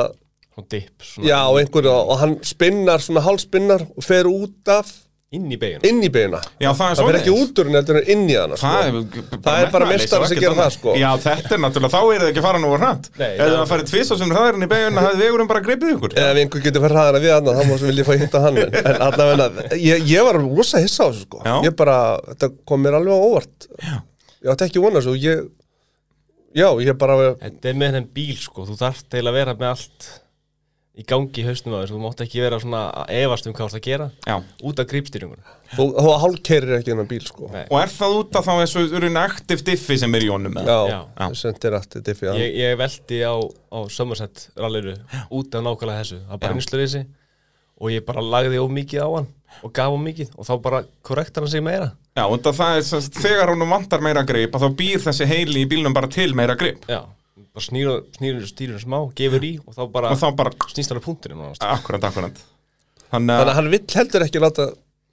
svona dip svona
já, einhverju og hann spinnar, svona hálspinnar og fer út af,
inn í beiguna
inn í beina.
Já, það er
Það fer
svoleiðis.
ekki út úr henni, heldur en inn í hana, sko.
Það er,
Það er bara
metnaðarleysi
meistarar
og
sem
ekkert
gera það,
annað.
sko.
Já, þetta er náttúrulega, þá er það ekki að fara nú hratt
Nei,
Ef það
já.
var farið tvis og sem hraðurinn í beginna hafði vegurinn bara greipið ykkur
Ef einhver getur fyrir hraðan að við hann, þá má sem vilja fá að hitta hann. En, en allavega, ég, ég var rosa hissa á þessu, sko.
Já.
Ég bara, þetta kom mér alveg á óvart. Já. Ég átti ekki vona þessu, ég, já, ég bara,
Þetta er með þenn bíl sko, þú þarft til að vera með allt í gangi í hausnum á þessu, þú mátt ekki vera svona að efast um hvað þú ert að gera
Já,
út af grípstýringunum.
þú, þú hálkerir ekki hennan bíl, sko.
Nei.
og er það út að þá er svo urinn aktiv diffi sem er í honum eða?
Já,
Já.
Já.
sendir allt þetta fyrir hann.
Ég, ég velti á, á Somerset rallyru út af nákvæmlega þessu, það bara innslur þessi og ég bara lagði of mikið á hann og gaf of mikið og þá bara korrektar hann sig meira.
Já, út að það er, sem sagt, þegar honum vantar meira grip að þá býr þessi heili í bílnum bara til meira grip
Já, bara snýra, snýra stýrinu smá, gefur í og þá bara
og þá bara,
snýst hann á punktinu nánast.
akkurat, akkurat Þannig
Þannig
að,
að hann vill heldur ekki láta,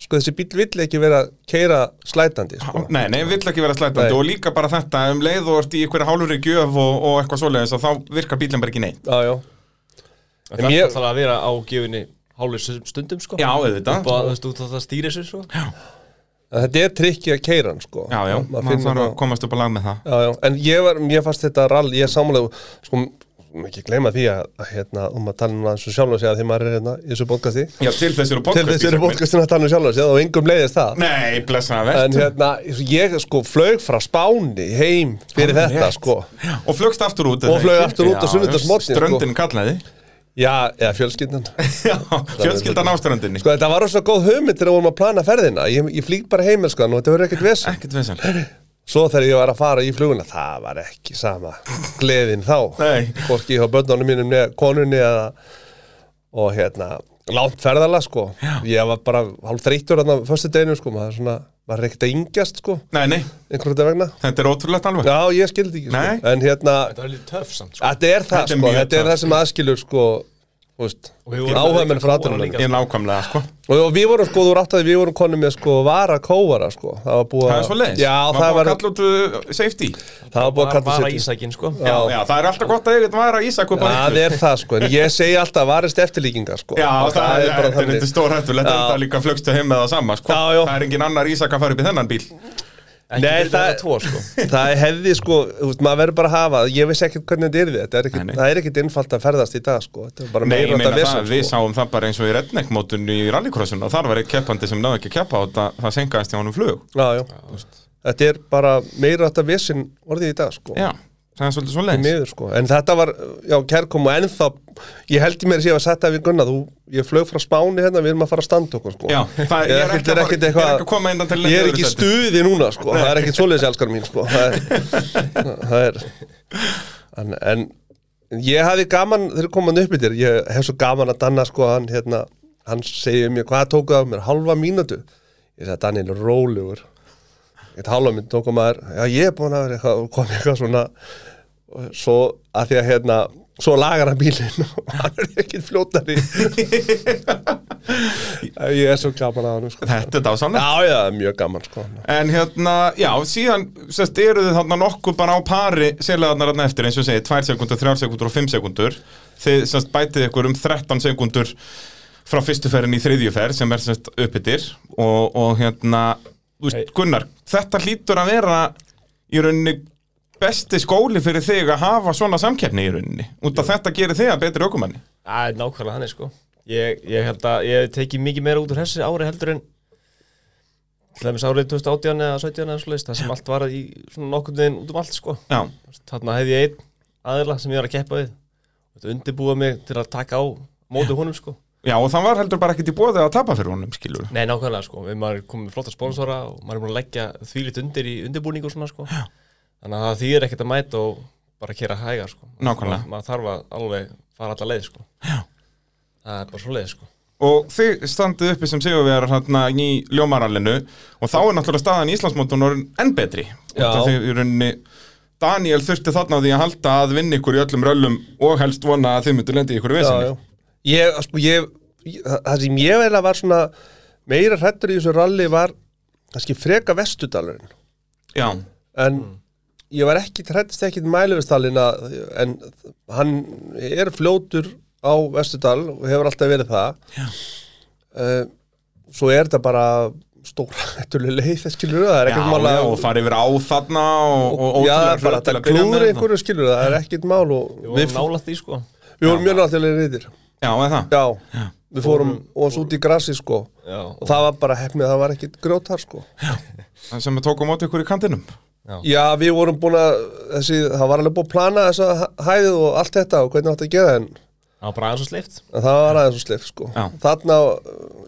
sko, þessi bíl vill ekki vera keira slætandi, sko.
nei, nei, vill ekki vera slætandi
Nei.
og líka bara þetta, um leið og ert í ykkur hálfur í gjöf og, og eitthvað svoleiðis og þá virkar bílinn bara ekki neitt
Já, já.
En
En
það
mér-
mér... þarf að vera á gefinni hálfur stundum sko.
Já, auðvitað.
Upp á- Þú veist, þú þarf að stýra þessu sko.
En þetta er trikkið að keira hann, sko.
Já, já,
Ma- maður
maður
finnur
þarf
það.
að komast upp á lag með það
Já, já, en ég var, mér fannst þetta rall, ég er samlega, sko, m- ekki gleyma því að, að hérna, um að tala um aðeins og sjálf og segja því maður er hérna í þessu podcasti.
Já, til þessi eru
Til
podcast í
þessu eru
sögunni.
podcastin að tala um sjálf og segja og engum leiðist það.
Nei, blessaða verð
En hérna, ég sko flög frá Spáni heim fyrir
Alveg
þetta,
rétt.
sko.
Og flögst aftur út eða
Og flaug
ekki?
aftur út á
Já,
sunnudagsmorgni, sko.
Ströndin kallaði
Já, eða fjölskyldan.
Já, fjölskyldan á ströndinni
Sko, þetta var rosa góð hugmynd þegar við vorum að plana ferðina. Ég, ég flýg bara heim, sko, og þetta verður ekkert vesen.
Ekkert vesen
Svo þegar ég var að fara í fluguna, það var ekki sama gleðin þá.
Nei.
Hvorki hjá börnunum mínum, neða, konunni eða, og hérna, langt ferðala, sko. Já. Ég var bara hálf þreyttur þarna á föstu deginu, sko, maður svona, maður er ekkert að yngjast, sko,
Nei, nei,
einhvern veginn vegna.
þetta er ótrúlegt alveg
Já, ég skildi ekki, sko.
Nei.
En hérna,
Þetta er lítið töff samt sko.
þetta er það,
Þetta er
sko,
mjög
þetta
töff.
er það sem aðskilur, sko, þú veist,
Og við vorum líka
áhæminn frá
kóra
aðtunum.
líka.
Ég er nákvæmlega, sko
Og, og við vorum, sko, þú ráttaði, við vorum konum með, sko, vara kóvara, sko. Það var búið
Það
að-
er svo leiðis
Já, það var,
að kalla út uh, safety
það var búið að
Bara,
kalla
bara
sig-
ísækin sko.
Já, já, það er alltaf gott að ég get vara Ísak upp á
Það
hillu.
er það sko, en ég segi alltaf varist eftirlíkingar sko
Já, það, er, þetta
bara
er
þannig.
þetta stór hættulegt
Já.
Þetta er líka flögstu heim með það sama, sko
Já, já.
Það er engin annar Ísak að fara upp í þennan bíl
Ekki
Nei,
fyrir
það-
þetta tvo sko.
Það er hefði sko, þú veist, maður verður bara að hafa Ég vissi ekkert hvernig þetta yrði, þetta er
Nei,
ekkit,
nei.
það er ekkit innfalt að ferðast í dag sko Þetta er bara
Nei, ég
meira
meina
þetta
það, við
vesen sko
sáum það bara eins og í redneckmótinu í rallycrossinu og þar var eitt keppandi sem náði ekki að keppa og það, það senkaðist í honum flug
sko. Já, já, þetta er bara meira þetta vesen orðið í dag sko
Já, það er svolítið svo
Miður, sko. En þetta var, já, kærkom og ennþá Ég held í mér að ég var sett að við Gunna þú, Ég flög frá Spáni hérna, við erum að fara að standa okkur sko
Já, það
Ég er
að
ekkert-
fara-
er ekkert
ég er
eitthvað-
ekki að koma innan til
Ég er ekki í stuði núna sko, það er ekkert svoleiðis elskar mín sko, það er, það er en, en, en ég hafi gaman, þeir koman upp í þér, ég hef svo gaman að Danna sko, hann hérna, hann segir mér hvað tókuð af mér, halva mínútu, ég sagði Danni er rólegur, eitt halva mínútu tókum maður, já ég er búin að vera eitthvað, og kom eitthvað svona, og svo að því að hérna, svo lagar hann bílinn og hann er ekkert fljótari, ég er svo gaman að hann sko.
Þetta er dásamlega
Já, já, mjög gaman sko
En hérna, já, síðan sest, eru þið þarna nokkuð bara á pari sérlegaðarnar þarna eftir, eins og ég segi, 2 sekundur, 3 sekundur og 5 sekundur Þið sest, bætið ykkur um 13 sekundur frá fyrstu ferðin í þriðju ferð sem er sest, uppbyttir og, og hérna, þú
Nei.
veist, Gunnar, þetta hlýtur að vera í rauninni besti skóli fyrir þig að hafa svona samkeppni í rauninni út af þetta gerir þig að betri ökumanni
Það er nákvæmlega þannig sko. Ég, ég held að ég hef tekið mikið meira út úr þessi ári heldur en til dæmis árið 2018 eða 17 eða svoleiðis, það sem allt var í svona nokkurn veginn út um allt sko.
Já,
Þarna hefði ég einn aðila sem ég var að keppa við. Þetta undirbúa mig til að taka á móti honum sko.
já og það var heldur bara ekkert í bóðið að tapa fyrir honum, skilur
Nei, nákvæmlega sko, við maður er komið með flotta sponsora og maður er búin að leggja þvílitt undir í undirbúning og svona sko Þannig að það þýðir ekkert að mæta og bara kera hægar sko
Nákvæmlega.
Ma Maður þarf að alveg fara alla leið sko Já Það er bara svo leið sko
og þið standið uppi sem sigurvegar hérna í ljómarallinu og þá er náttúrulega staðan í Íslandsmótun orðin enn betri
Já.
Út af því í rauninni Daniel þurfti þarna á því að halda að vinna ykkur í öllum röllum og helst vona að þið myndu lendi í ykkur
já, já.
vesinni
Ég, sko, ég, ég- það sem ég eiginlega var svona meira hrættur í þessu ralli var kannski freka vestudalurinn
Já,
en
Mm.
ég var ekki hrættist ekkit mæluvistallin að en hann er fljótur á vestudal og hefur alltaf verið það já. svo er þetta bara stóra hættulega leið skilur það er
já,
ekkert mála
já, og farið yfir á þarna og, og
já,
ótrúlega hröð
bara
til
þetta
að byrja
klúður
með. hérna.
einhverju skilur það er ekkert mál og
Við
við,
vorum nálægt því sko
við vorum mjög náttúrulega reyðir
Já, eða það
já, við fórum og svo út í grassi sko
Já,
og það var bara hefnið, það var ekkit grjótar sko
Það sem við tókum átt ykkur í kantinum
já, við vorum búin að þessi, það var alveg búin að plana þessa hæðið og allt þetta og hvernig átti að gera það, en,
það var bara aðeins og sleift
en það var aðeins og sleif sko
Já.
þarna,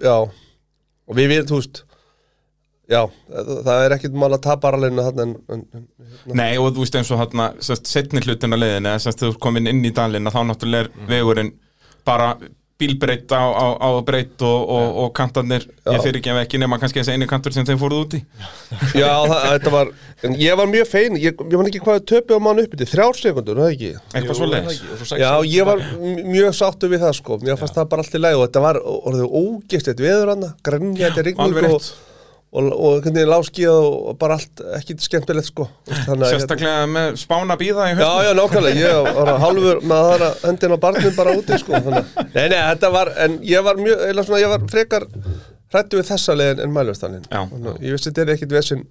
já og við við, þú veist já, það það er ekkit mál að tapa aralinu þarna en, en, en
Nei, og þú veist eins og þarna sest, setni hlutin að leiðinni, eða sest þú ert komin inn í dalinn að þá náttúrulega er
Mhm.
vegurinn bara bílbreytt á, á, á breytt og, og, og kantarnir, ég fyrir ekki ekki nema kannski þessi einu kantur sem þeim fóruð úti
já, það, þetta var, en ég var mjög fein ég, ég man ekki hvað að töpu á mann uppi til þrjár sekundur, það ekki
eitthvað svo leiðis
Já, ég var m- mjög sáttu við það sko Mér fannst það bara allt í lagi og þetta var orðið ógestið veður hana, grenjandi rigning
alveg
og,
rétt.
og, og hvernig láskið og, og bara allt ekki skemmtilegt sko Þannig, að-
Sérstaklega með spána býða í
hérna. Já,
höfnum
já, nákvæmlega, ég var hálfur með aðra höndin á barnum bara úti sko þannig. að- Nei, nei, þetta var, en ég var mjög, eða svona, ég var frekar hrættu við þessa leiðin en mælustallin
Já.
Ég vissi þetta er ekkit vesinn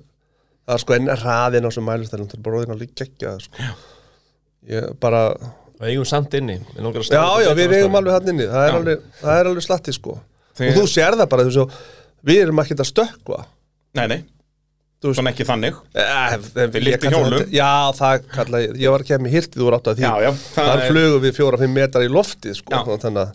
Það er sko enn hraðin á sem mælustallin Það er bara orðin að líka ekki að sko Ég bara,
Við eigum samt inni Mig langar að
Já,
staða
já,
þetta
við
betur
eigum
á
alveg hann inni Það er,
Já.
alveg, það er alveg slatti sko
Þegar-
Og þú sér það bara, þú veist svo Við erum ekkert að stökkva
Nei, nei,
Þú veist-
svona ekki þannig
Eh, Við
lyfti hjólum.
Já, það kalla ég Ég var ekki með hirtið úr átt að því
Já, já, það
Þar
er-
flugum við fjóra, fimm metrar í loftið
Já. Eh.
sko Þannig að,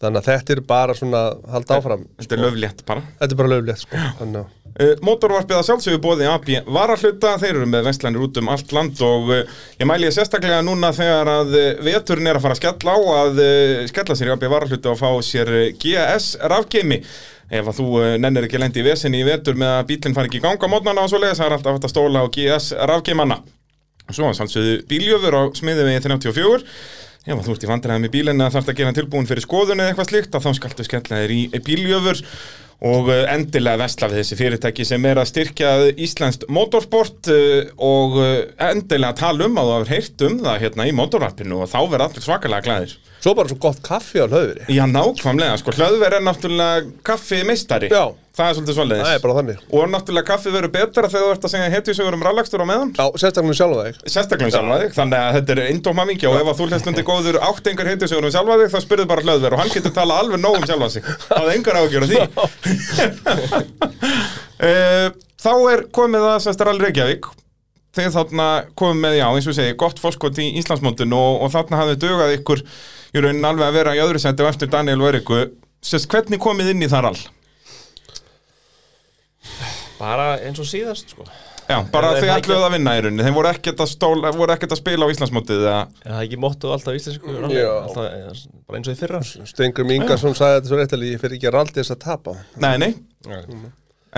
þannig að þetta er bara svona Hald áfram
Þetta er löflétt bara
Þetta er bara löflegt sko Þannig að
Uh, Mótorvarpið að sjálfsögðu bóði AB varahluta, þeir eru með vestlanir út um allt land og uh, ég mæli ég sérstaklega núna þegar að uh, veturinn er að fara að skella á að uh, skella sér í AB varahluta og fá sér uh, GS rafgeimi ef að þú uh, nennir ekki lendi í vesinni í vetur með að bílinn fari ekki í ganga mótnana og svo leiðis, það er alltaf hægt að stóla á GS rafgeimanna og svo að sjálfsögðu bíljöfur á smiðivegi 34 ef að þú ert í vandræðum í bílinn eða þarft að gera hann tilbúin fyrir skoðun eða eitthvað slíkt að þá skaltu skella þér í bíljöfur og eh, endilega vesla við þessi fyrirtæki sem er að styrkja íslenskt motorsport eh, og eh, endilega tala um að þú hafur heyrt um það hérna í motorvarpinu og þá verða allir svakalega glæðir
Svo bara svo gott kaffi á hlöfri
Já, nákvæmlega, sko, hlöðver er náttúrulega kaffi meistari
Já.
Það er svolítið svoleiðis
Það er bara þannig
Og náttúrulega kaffi verður betra þegar þú ert að segja hetjusögur um rallakstur á meðan
Já, sérstaklega sjálfa þig
Sérstaklega um sjálfa þig, þannig að þetta er indóma mingi og ef að þú hlest undir góður átt engar heitisögur um sjálfa þig þá spyrðu bara hlöðver og hann getur tala alveg nóg um sjálfa sig það er engar ágjör á því Eh, Þá er komið að sestar alveg Reykjavík þegar þarna komið með, já, eins og ég segi, gott fórskot í Íslandsmóndin og, og þarna hafði dugað ykkur í raunin alveg að vera í öðru seti og eftir Daniel og Eriku Sest, hvernig komið inn í þar all?
Bara eins og síðast sko Er
Já, bara
Eða
þau
er það ekki-
ætluðu að vinna í rauninni, þeim voru ekkert að, stóla, voru ekkert að spila á Íslandsmóndið eða
það ekki móttu alltaf íslensku rally?
Mm. Já.
Alltaf, eh, Bara eins og í fyrra
Stengrum Ingarsson sagði þetta svo réttilega Ég fyrir ekki að raldi þess að tapa
Nei, nei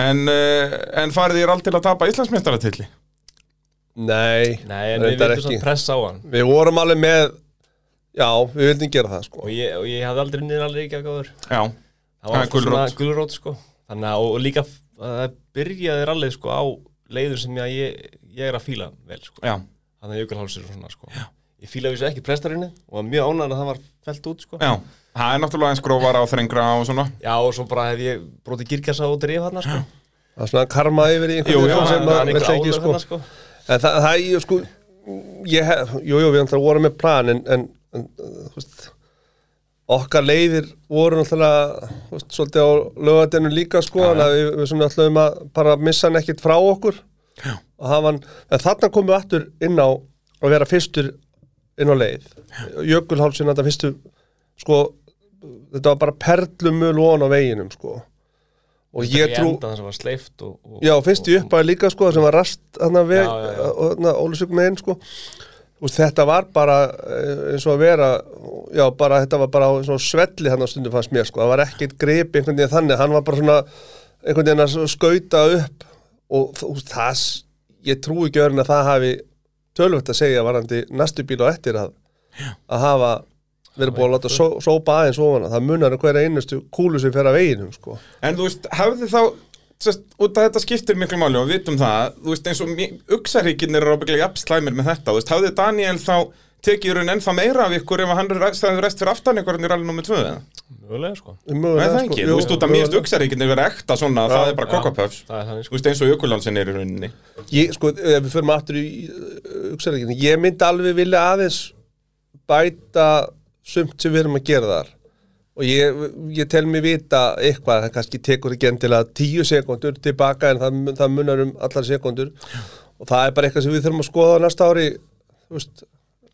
En, uh, en farið þér allt til að tapa Íslandsmeistaratilli?
Nei,
Nei, en við
reyndar
vildum svona pressa á hann
Við vorum alveg með Já, við vildum gera það sko
Og ég, og ég hafði aldrei niður alveg ekki að góður
Já,
Það
Ha,
var alltaf svona
gulrót.
gulrót sko Þannig að og líka f- að það byrjaði rallið sko á leiður sem ég, ég, ég er að fíla vel sko
já,
Þannig að jökulhálsir og svona sko Ég fílaði þessu ekki prestarinnu og var mjög ánægður að það var felt út sko
já Það er náttúrulega eins grófara og þrengra og svona
Já, og svo bara hef ég brotið girkassa og drif hann, sko.
Það er svona karma yfir í
Jú, jú,
einhvern veginn sem
hann-
maður
einhver
vill ekki
álög
sko.
þarna, sko.
En það, það er, sko, ég, hef- jú, jú, við náttúrulega vorum með plan en, en, en uh, þú veist, okkar leiðir voru náttúrulega, þú veist, svolítið á lögadenu líka, sko, þannig að við, við svona ætlaðum að bara missa hann ekkit frá okkur. Já. Og hafa hann, en þarna komum við aftur inn á að vera fyrstur inn á leið. Jökulhálsinn þetta fyrstu, sko, þetta var bara perlumul ofan á veginum, sko. Og ég
Ég
trú...
enda þess að var sleift og, og
Já, fyrst í uppæði líka sko sem var rast hann að veg
Já, já, já.
og Ólusök með einn sko og þetta var bara eh, eins og að vera já, bara þetta var bara á svona svelli hann á stundum fannst mér sko, það var ekkert grip einhvern veginn þannig, hann var bara svona einhvern veginn að skauta upp og þú- það, s- ég trúi ekki öðrun að það hafi tölvögt að segja varandi næstu bíl og eftir að að hafa verið búið að láta só, sópa aðeins ofan það munar um hverja einustu kúlu sem fer að veginum sko.
En þú veist, hafði þá sest, út að þetta skiptir miklu máli og við vitum það, þú veist, eins og uksaríkinir eru ábygglega jafnslæmir með þetta, þú veist, hafði Daniel þá tekið í raun ennþá meira af ykkur ef hann stæði rest fyrir aftan ykkur en í rally nr. 2 eða?
Mögulega sko
Nei,
Um Mögulega,
það ekki, þú veist, út að um mjögst uksaríkinir vera ekta svona, það er bara kokkapöfs
Það er þannig
Þú
sko
veist, eins og jökulánsin er í rauninni
ég, sko, ef við förum aftur í hugsaðleikinni, ég myndi alveg vilja aðeins bæta sumt sem við erum að gera þar og ég, ég tel mér vita eitthvað, það kannski tekur ekki endilega tíu sekundur tilbaka en það, mun- það munar um allar sekundur og það er bara eitthvað sem við þurfum að skoða á næsta ári þú veist,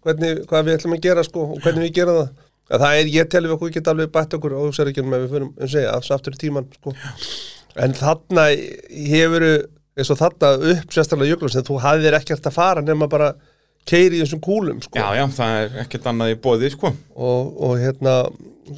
hvernig, hvað við ætlum að gera sko, og hvernig við gera það að það er, ég tel við okkur geta alveg bætt okkur á hugsaðleikinum ef við förum, um segja, aftur í tíman sko. En þarna hefur eins og þarna upp sérstaklega jöklum sem þú hafðir ekkert að fara nema bara keiri í þessum kúlum sko.
Já, já, það er ekkert annað í bóði, sko
og, og hérna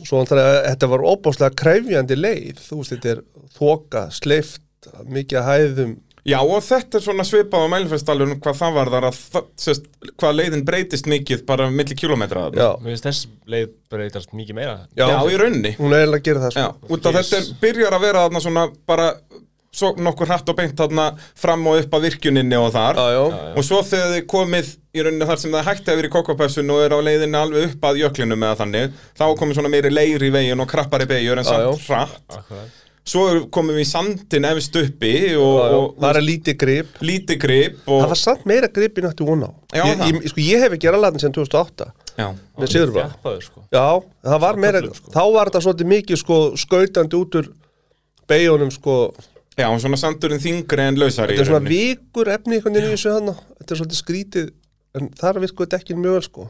svo alltaf að þetta var óbáslega krefjandi leið, þú veist þetta er þoka, sleift, mikið að hæðum
Já, og þetta er svona svipað á mælifestalunum hvað það var þar að, það- sest, hvað leiðin breytist mikið bara milli kilometra þarna.
já,
Mér finnst þess leið breytast mikið meira
já,
já, í rauninni
hún er eiginlega að gera það
Já,
sko.
út af
Yes.
þetta er- byrjar að vera þarna svona bara svo nokkur hratt og beint þarna fram og upp að virkjuninni og þar
Já, já.
já.
og svo þegar þið komið í rauninni þar sem það er hægt að vera í kokkapessun og er á leiðinni alveg upp að jöklinum eða þannig þá er komið svona meiri leir í veginn og krappari beigjur en
Já,
samt hratt
Akkurat
svo er- komum við í sandin efst uppi og,
Já, já.
og,
það er lítið grip
og lítið grip
það
og,
var samt meira grip í náttu hún á
Já,
ég,
það.
ég, sko, ég hef ekki gerað latin sem 2008
já,
með Sigurvá
Þjappaður sko
Já, það var meira,
köflum, sko.
þá var þetta svolítið mikið sko skautandi út úr beigunum sko,
já, og svona sandurinn þingri en lausari
þetta
í
er svona
rauninni.
vikur efni einhvern veginn í þessu hann þetta er svolítið skrítið, en þar virkuðu dekkin mjög vel sko.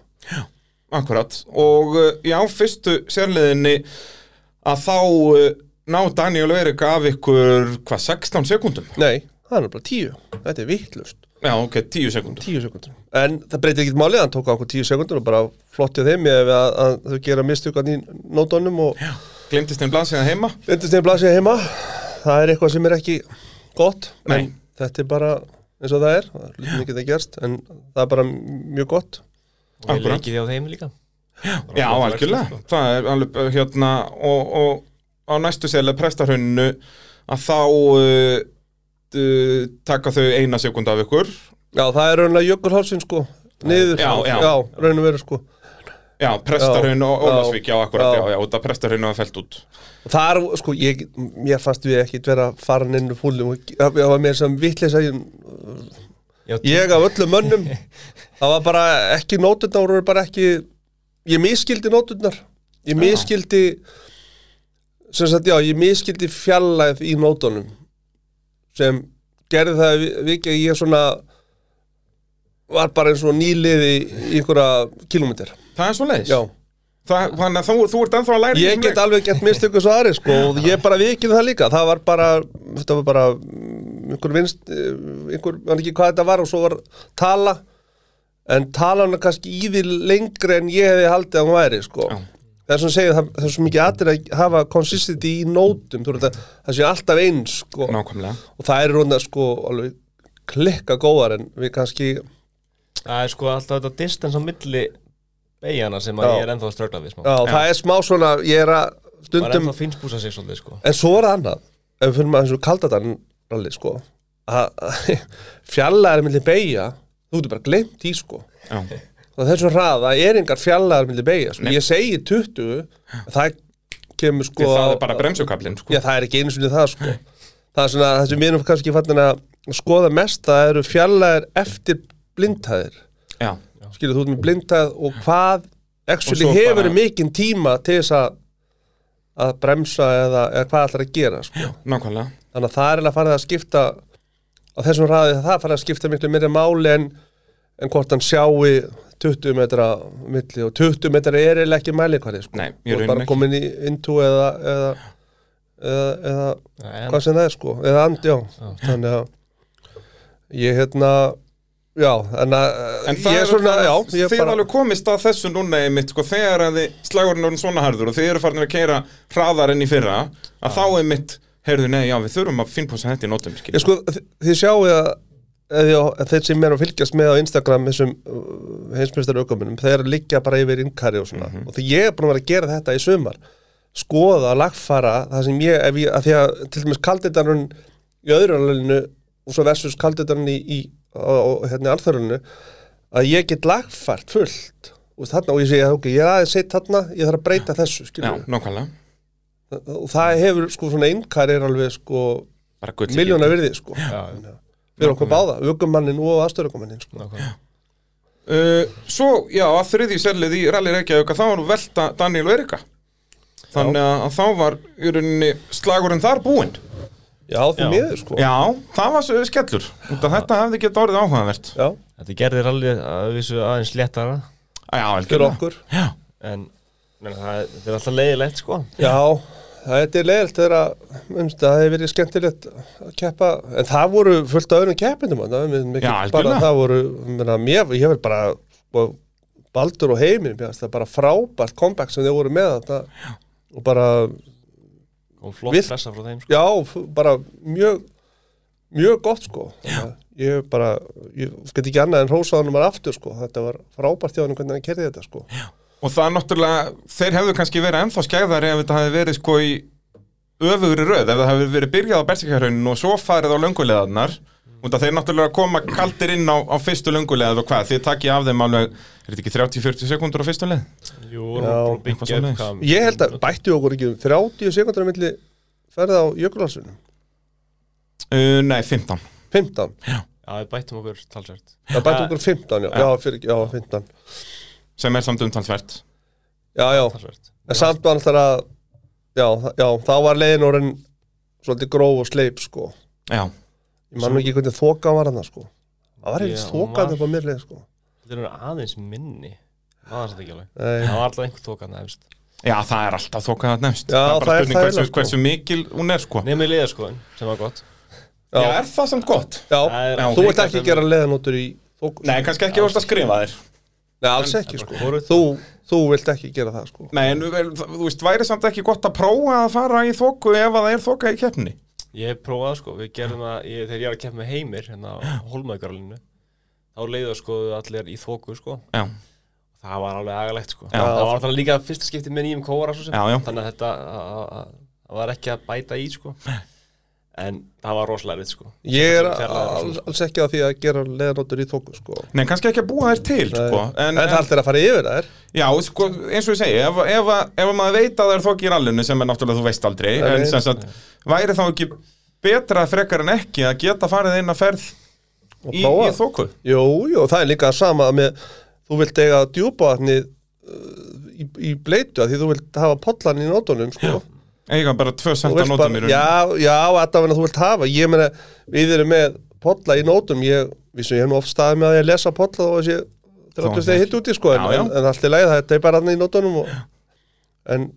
Akkurat, og uh, já, fyrstu sérliðinni að þá uh, ná Daniel Eirik af ykkur, hvað, 16 sekúndum?
Nei, það er bara tíu, þetta er vittlust
Já, ok, 10 sekúndum.
tíu sekundur, en það breytir ekkit málið hann tók á okkur tíu sekundur og bara flottið þeim ef að, að þau gera mistukan í nótunum og
Glemtist einn blaðsíðan heima?
endist þeim blasið heima það er eitthvað sem er ekki gott
Nei.
en þetta er bara eins og það er, hlutin ekki það gerst en það er bara mjög gott
Og ég
Akkurat.
leikið því á þeim líka sko.
Já, algjörlega. Það er alveg, uh, hérna, og, og á næstu sérlið prestarhönnu að þá uh, uh, taka þau eina sekúndu af ykkur.
Já, það er raunlega jökulhálsinn sko Niður,
Já, já.
raun og veru sko
Já, prestarhönnu og
Já,
Ólafsvík, já, akkurat,
já.
já, já, út af prestarhönnu var felt út.
Og Það er, sko, ég, mér fannst við ekki vera farin inn úr fúlum og það það var mér sem vitleisa
Já,
ég af öllum mönnum það var bara ekki nótundar voru bara ekki, ég miskildi nótundar ég miskildi sem sagt, já, ég miskildi fjallæð í nótunum sem gerði það vikið ég svona var bara eins og nýliði í einhverja kilómetir,
Það er svo leiðis.
já
Það, þannig að þú, þú ert ennþá að læra
ég get alveg gett mistöku svo aðri sko, og ég bara vikið það líka það var bara, þetta var bara mm, einhver vinst, eh, einhver, mann ekki hvað þetta var og svo var tala en talan er kannski í því lengri en ég hefði haldið að hún væri sko.
Já.
það er svona að segja, það, það er svo mikið aðri að hafa consistency í nótum þú veist að það sé alltaf eins sko.
Nákvæmlega.
og það er rúnda sko alveg klikka góðar en við kannski
Það er sko alltaf þetta distance á milli beigana sem að
Já.
ég er ennþá að ströggla við smá
já, það er smá svona, ég er að
Það er
stundum
ennþá að finnspúsa sig svolítið sko
En svo er það annað, ef við fyrir maður eins og kaldadarn rally, sko, að fjallaðar millir beigja, þú getur bara glemt í, sko.
Já.
Og þessum hraða er engar fjallaðar millir beigja, sko. Ég segi 20, en það kemur, sko,
Því það er
á-
bara bremsukablinn sko.
Já, það er ekki eins og það, sko. Það er svona, það sem við erum kannski fannir að skoða mest, það eru fjallaðar eftir blindhæðir.
Já.
Skilur þú út með blindhæð og hvað, actually,
svo
hefur
bara-
mikinn tíma til þess að, að bremsa eða, eða hvað ætlar að gera, sko.
nákvæmlega
þannig að það er að farið að skipta á þessum hraði það farið að skipta miklu meira máli en, en hvort hann sjái 20 metra milli og 20 metra er eiginlega ekki mælikvarði sko.
Nei, ég
Þú ert
raunin
bara
ekki.
komin í intu eða eða, eða, eða
En
hvað sem það er sko eða and, já, þannig að ég hérna já, en að
En það
ég
er
er svona, já, ég
þið bara... alveg komist að þessu núna einmitt, sko, þegar að þið slagurinn orðin svona harður og þið eru farin að keira hraðar enn í fyrra, að þá einmitt, heyrðu, nei, já, við þurfum að finnpósa þetta í nótum, skil.
Ég sko, þi- þið sjáu að eða, að þeir sem er að fylgjast með á Instagram þessum heimsmyndstar aukominum þeir liggja bara yfir innkari og svona og því ég er búin að vera að gera þetta í sumar skoða, lagfara það sem ég, ef ég að því að til dæmis kalditarun í öðru alveginu og svo versus kalditarun í, í á, á, hérna, alþöruninu að ég get lagfart fullt og, þarna, og ég segi, ok, ég er aðeins seitt þarna ég þarf að breyta þessu,
Já,
skiljum
nákvæmlega.
og það hefur sko svona innkari er alveg sko
Bara gull. í
miljóna
gildi.
virði sko já. fyrir okkur báða, ökumannin og aðstöðukumannin sko.
Uh, svo, já, að þriði selið í Rally Reykjavík, að þá var velta Daniel og Erika. Þannig að, að þá var, í rauninni, slagurinn þar búinn.
já, því
Já.
miður sko
Já, það var svo skellur. Út af Þetta hefði getið orðið áhugavert.
Já,
Þetta gerðir alveg að vissu aðeins léttara
Já,
fyrir
algjörlega.
okkur
Já,
en menn, það, þetta er alltaf leiðilegt sko
já, það er leiðilt þegar að, minnst, það hefur verið skemmtilegt að keppa, en það voru fullt af öðrum keppinum, það er
Já,
mikið bara
algjörlega.
það voru, menna, mér, ég verð bara og Baldur og heiminn, mér finnst það bara frábært comeback sem þeir voru með þetta og bara,
og flott
Við-
pressa frá þeim sko
já, f- bara mjög mjög gott sko Þannig að ég bara, ég get ekki annað en hrósa honum bara aftur sko, þetta var frábært hjá honum hvernig hann kerði þetta sko
Og það er náttúrulega, þeir hefðu kannski verið ennþá skæðari ef þetta hefði verið sko í öfugri röð, ef það hefði verið byrjað á Bersikjarhrauninu og svo farið á lönguleðarnar og það þeir náttúrulega koma kaldir inn á, á fyrstu lönguleðar og hvað, þið takkið af þeim alveg, er þetta ekki 30-40 sekundur á fyrstu leð?
Jú, hún bara að
eitthvað
byggja
svoleiðis.
upp hvað-
Ég held að bætti okkur ekki um 30 sekundar milli ferða á Jökulhalsunum
Uh, nei, 15.
15,
Já, við bættum okkur talsvert
það bætti okkur 15 já, já, fyrir, já 15
Sem er samt umtalsvert.
Já, já,
talsvert
en samt var alltaf að já, þa- já, þá var leiðin orðin svolítið gróf og sleip sko
Já,
Ég man nú ekki hvernig þokan var hann sko Það var
Já,
eitthvað
hún
þokan
var-
upp á mér leið sko
Þetta eru aðeins minni Það er þetta ekki alveg
Nei.
Það var alltaf einhver tókan efst
já það er alltaf þokkaðat nefnst.
Já,
það er
það
bara
er
spurning
það
hversu,
eiginlega, sko.
hversu mikil hún er sko.
Nefnir leiðarskoðin sem var gott
Já,
Já,
er það samt gott?
já,
Það er-
þú
Já,
ert ekki að gera leiðanótur í þokan
Nei, kannski ekki vorst að skrifa þér.
Nei, alls ekki sko
bara hvorugt.
Þú, þú vilt ekki gera það sko
Nei, en vel, það- þú veist, væri samt ekki gott að prófa að fara í þoku ef að það er þoka í keppni?
Ég hef prófað sko Við gerðum það ég, Þegar ég var að keppa með heimir Hérna á holmaðgarlinu Þá leiðarskoðu allir í þóku sko
Já,
Það var alveg agalegt sko
Já.
Það var alltaf líka fyrsta skipti með nýjum kóra svo sem
Já, já.
Þannig að þetta að- að- að var ekki að bæta í sko En það var rosalega erfitt sko
Ég er
Fjarlægðar og
alls,
svona.
alls ekki að því að gera leiðanótur í þoku sko
nei, kannski ekki að búa þær til, sko
En, en það allt er að fara yfir þær
Já, sko, eins og ég segi, ef, ef, að- ef að maður veit að það er þoki í rallinu sem er náttúrulega þú veist aldrei
Nei,
En
nei.
sem sagt, væri þá ekki betra frekar en ekki að geta farið eina ferð
Og
í,
prófa.
í þoku?
Jú, jú, það er líka sama með þú vilt eiga djúpavatni í, í bleitu að því þú vilt hafa pollan í nótunum sko.
Eiga bara tvö
Þú
senta
vilt
nótum í rauninu
bara, já, já, allavega þú vilt hafa ég meina, við erum með polla í nótum ég, vissu, ég hef nú oft staðið með að ég lesa polla þó að sé
Þó að
30
sé
stegi hitt út í sko en,
Já, já.
en, en allt í lagi, það er bara hann í nótunum og, en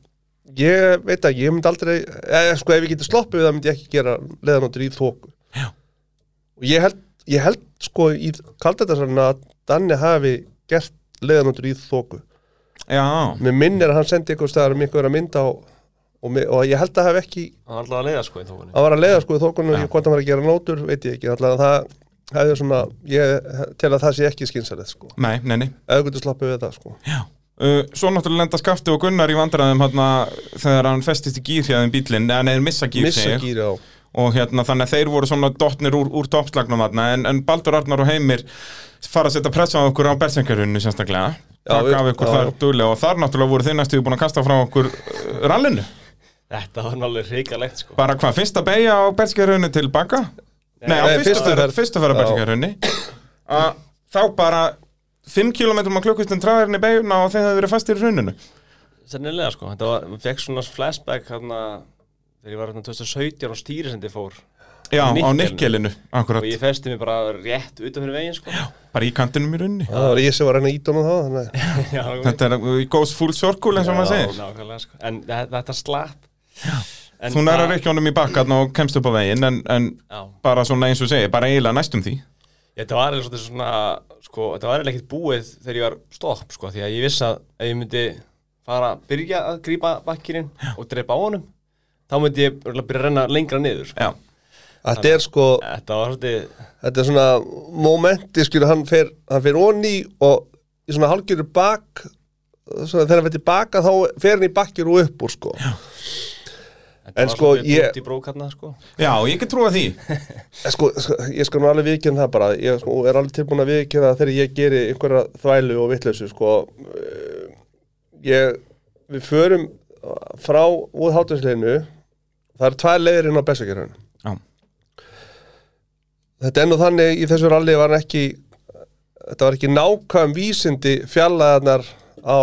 ég veit ekki, ég myndi aldrei eh, sko, ef ég geti sloppið við það myndi ég ekki gera leðanóttur í þóku
Já.
og ég held, ég held sko í kaldættarsarinn að Danni hafi gert leðanóttur í þóku
Já,
mér minnir að hann sendi eitthvað staðar um eitthvað mynd á og, mig, og ég held að hafi ekki
Það var alltaf að leiðarskoðin þókunni
að var að leiða sko í þokunum og hvort hann var að gera nótur veit ég ekki, allavega það hefði svona, ég tel að það sé ekki skynsalið sko,
nei, nei, nei
eða þú getur sloppið við það sko
Uh, svo náttúrulega lenda skafti og Gunnar í vandræðum hana, þegar hann festist í gýrhjæðin bílinn, en er missa gýr
missa
segir.
gýri á,
og hérna þannig að þeir voru svona dottnir úr, úr toppslagnum þarna en, en Baldur Arnar og Heimir fara að setja pressa á okkur á bersengarunni sérstaklega
Já,
það
við-
gaf ykkur
já,
þar
já.
duglega og þar náttúrulega voru þeir næstuði búin að kasta frá okkur uh, rallinu
Þetta var alveg hrikalegt sko
bara hvað, fyrsta beigja á bersengarunni til baka? Nei, á
Nei,
fyrsta
fyrstu
ferð-
ferð.
fyrstu ferð á
Já.
bersengarunni þá bara 5 km á klukkustund traðurinn í beigjuna og þeir hefðu verið fastir í runinu
Sennilega sko, þetta var, maður fekk svona flashback hérna þegar ég var hérna 2017 og stýrisendi fór
Já, á
Nikkelinu.
nikkelinu, akkurat
og ég festi mig bara rétt utan fyrir veginn sko
bara í kantinum í runni
það var ég sem var að reyna ítunum þá þannig, að-
Já, já,
Þetta er, it goes full circle eins og maður segir
nákvæmlega sko En þe- þetta slapp En
Þú nærar
það-
ekki honum í bakkarn og kemst upp á veginn en, en
Já,
bara svona eins og segir, bara eiginlega næstum því
Þetta var eða svolítið svona, sko, þetta var eða ekkert búið þegar ég var stopp, sko, því að ég vissi að ef ég myndi fara að byrja að grípa bakkirinn og drepa á honum, þá myndi ég örugglega byrja að renna lengra niður, sko.
Já,
Þetta er sko,
Þetta var svolítið,
þetta er svona momenti, skilur, hann fer, hann fer onni og í svona halgjöru bak svona, þegar hann fer tilbaka þá fer hann í bakkjur og upp úr sko.
þetta
En
var
sko,
svolítið
ég-
brútt í brókarna, sko.
já, ég get trúa því
En Sko, sko, ég skal nú alveg viðkjörn það bara ég sko, er alveg tilbúin að viðkjörna það þegar ég geri einhverja þvælu og vitleysu sko. Eh, ég, við förum frá úr hátinsleginu það eru tvær leiðir inn á Bessakerun
Já.
þetta er nú þannig í þessu ralli var hann ekki þetta var ekki nákvæm vísindi fjallaðarnar á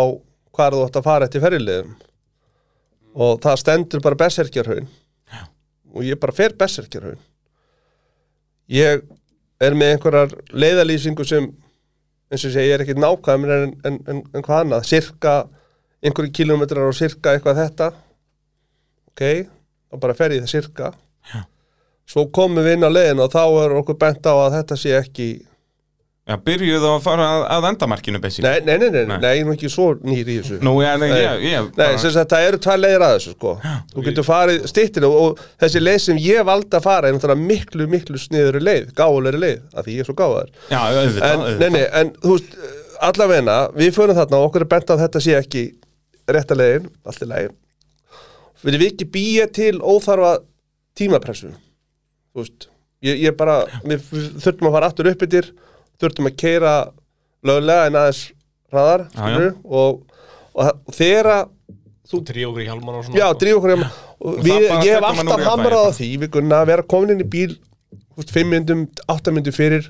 hvað þú átt að fara eftir ferjulegum og það stendur bara Bessakerun og ég bara fer Bessakerun ég er með einhverjar leiðalýsingu sem eins og ég segi, ég er ekkert nákvæmur en, en, en, en hvað annað, sirka einhverju kilometrar og sirka eitthvað þetta ok og bara fer ég það sirka svo komum við inn á leiðin og þá er okkur bent á að þetta sé ekki
Já, byrjuðu að fara að, að endamarkinu basic.
nei, nei, nei, nei,
Nei.
nei, nei nú ekki svo nýr í þessu
Nú, já, nei, ég, ég
Nei,
bara,
sem sagt, það eru tvær leiðir að þessu, sko. Þú getur farið stittir og, og þessi leið sem ég valdi að fara er náttúrulega miklu, miklu sniðurri leið, gáfulegri leið, af því ég er svo gáfaður.
Já, auðvitað,
en, nei,
auðvitað.
nei, en þú veist, allavegna við förum þarna og okkur er bent að þetta sé ekki rétta leiðin, allt í leiðin viljum við ekki býja til óþarfa tímapressu þú veist, ég, ég bara við þurftum að fara aftur upp yfir þurftum að keira löglega en aðeins hraðar
Já, já.
skilurðu, og, og, það- og þeirra
Þú dríu okkur í hjálman og svona.
Já,
sko.
drífa okkur hjá við,
það bara
Ég hef
tekur mann úr
alltaf
jafnvægi
hamrað á
bara.
því Við kunna að vera komin inn í bíl þú veist, Fimm myndum, átta myndum fyrir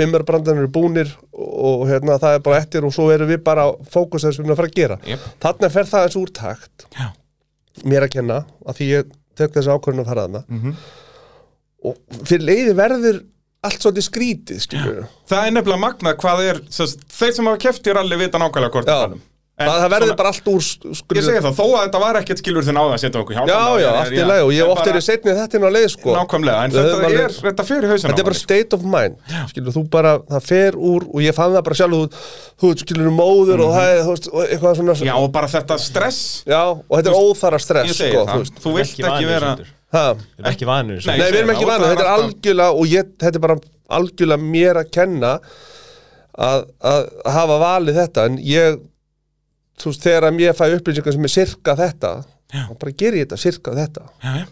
Fimmarbrandarnir eru búnir og, og hérna, það er bara eftir og svo erum við bara fókus þess við erum að fara að gera
Jep.
Þarna fer það eins úr takt
Já.
Mér að kenna að því ég tek þessi ákvörðun að fara þarna
Mhm.
-hmm. Og fyrir leiði verður allt svolítið skrítið skilur við
Það er nefnilega magnað hvað er, sess, þeir sem hafa keft í ralli vita nákvæmlega hvort
Já.
það er. En
Það, það verður
svona-
bara allt úr
Ég
skrítið
segi það, þó að þetta var ekkert skilur þið náða að setja okkur hjálpa.
Já, já, allt í lagi og ég hef oft verið setnið þetta inn á leið sko
Nákvæmlega, en
Við höfum
þetta
alveg-
er, þetta fyrir hausinn á
þetta er bara
manni,
state of mind skilur, þú bara, það fer úr og ég fann það bara sjálf þú, þú ert, skilur móður og það er þú veist, og eitthvað svona
sko. Mhm. Já, og bara þetta stress,
Já, og þetta er óþara stress
ég segi
sko, þú
það,
veist.
þú vilt ekki vera...
Ha.
Við erum ekki vanur þessu.
Nei.
Nei,
segi
við erum ekki
það, og
vanið,
það er
þetta er
alltaf-
algjörlega og ég, þetta er bara algjörlega mér að kenna að, að hafa valið þetta en ég, þú veist, þegar að mér fæ upplýsingar sem er sirka þetta og bara gerir ég þetta, sirka þetta
Já, já.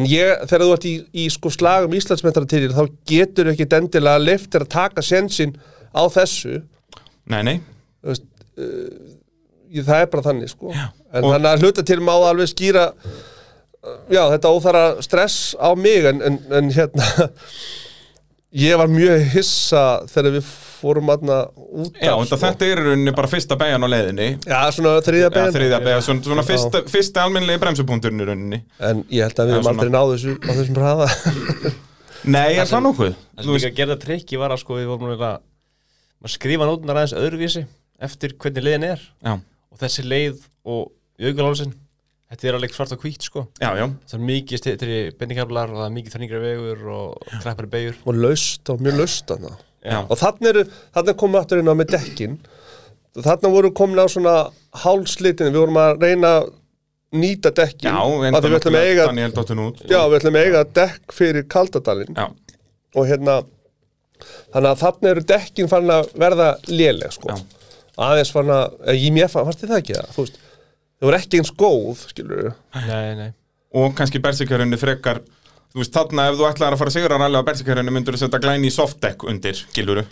En ég, þegar þú ert í, í sko slagum Íslandsmetratitil, þá getur ekki endilega leiftir að taka sensin á þessu.
Nei, nei,
þú Veist, uh, það er bara þannig, sko. En
og-
þannig að hluta til má það alveg skýra, uh, já, þetta óþara stress á mig, en, en, en hérna, ég var mjög hissa þegar við fórum aðna út sko.
já, þetta, þetta er í rauninni bara fyrsta beigjan á leiðinni.
Já, svona þriðja
Já,
bein.
þriðja beigja, svona, svona fyrsta, fyrsta almennilegi bremsupunkturinn í rauninni.
En ég held að við
Já,
höfum
svona.
aldrei náðu þessu á þessum hraða.
Nei, er það nokkuð? Þú
Það sem
veist-
líka að gera trikki var að sko við vorum að maður skrifa nótnar aðeins öðruvísi eftir hvernig leiðin er
Já,
og þessi leið og jökulálsinn þetta er alveg svart og hvít sko
já, já.
það er mikið styrri bendingablar og það er mikið þræningri vegur og kreppari beigur
og laust og mjög laust þarna
Já.
og þarna, eru, þarna komum við aftur inn á með dekkin þarna voru komin á svona hálslitin, við vorum að reyna að nýta dekkin
Já,
að við ætlum að eiga,
Daniel Dóttin út
já, við ætlum að eiga dekk fyrir kaldadalinn
já,
og hérna þannig að þarna eru dekkin farin að verða léleg sko
Já.
aðeins farin að, eh, ég mér fann, fannst þið það ekki það þú veist, þau voru ekki eins góð skilur við
nei, nei.
Og kannski bersikjörunni frekar Þú veist, þarna ef þú ætlaðir að fara að sigra hann alveg á bersikjörunni myndur þú setja glæni í softdeck undir, giluru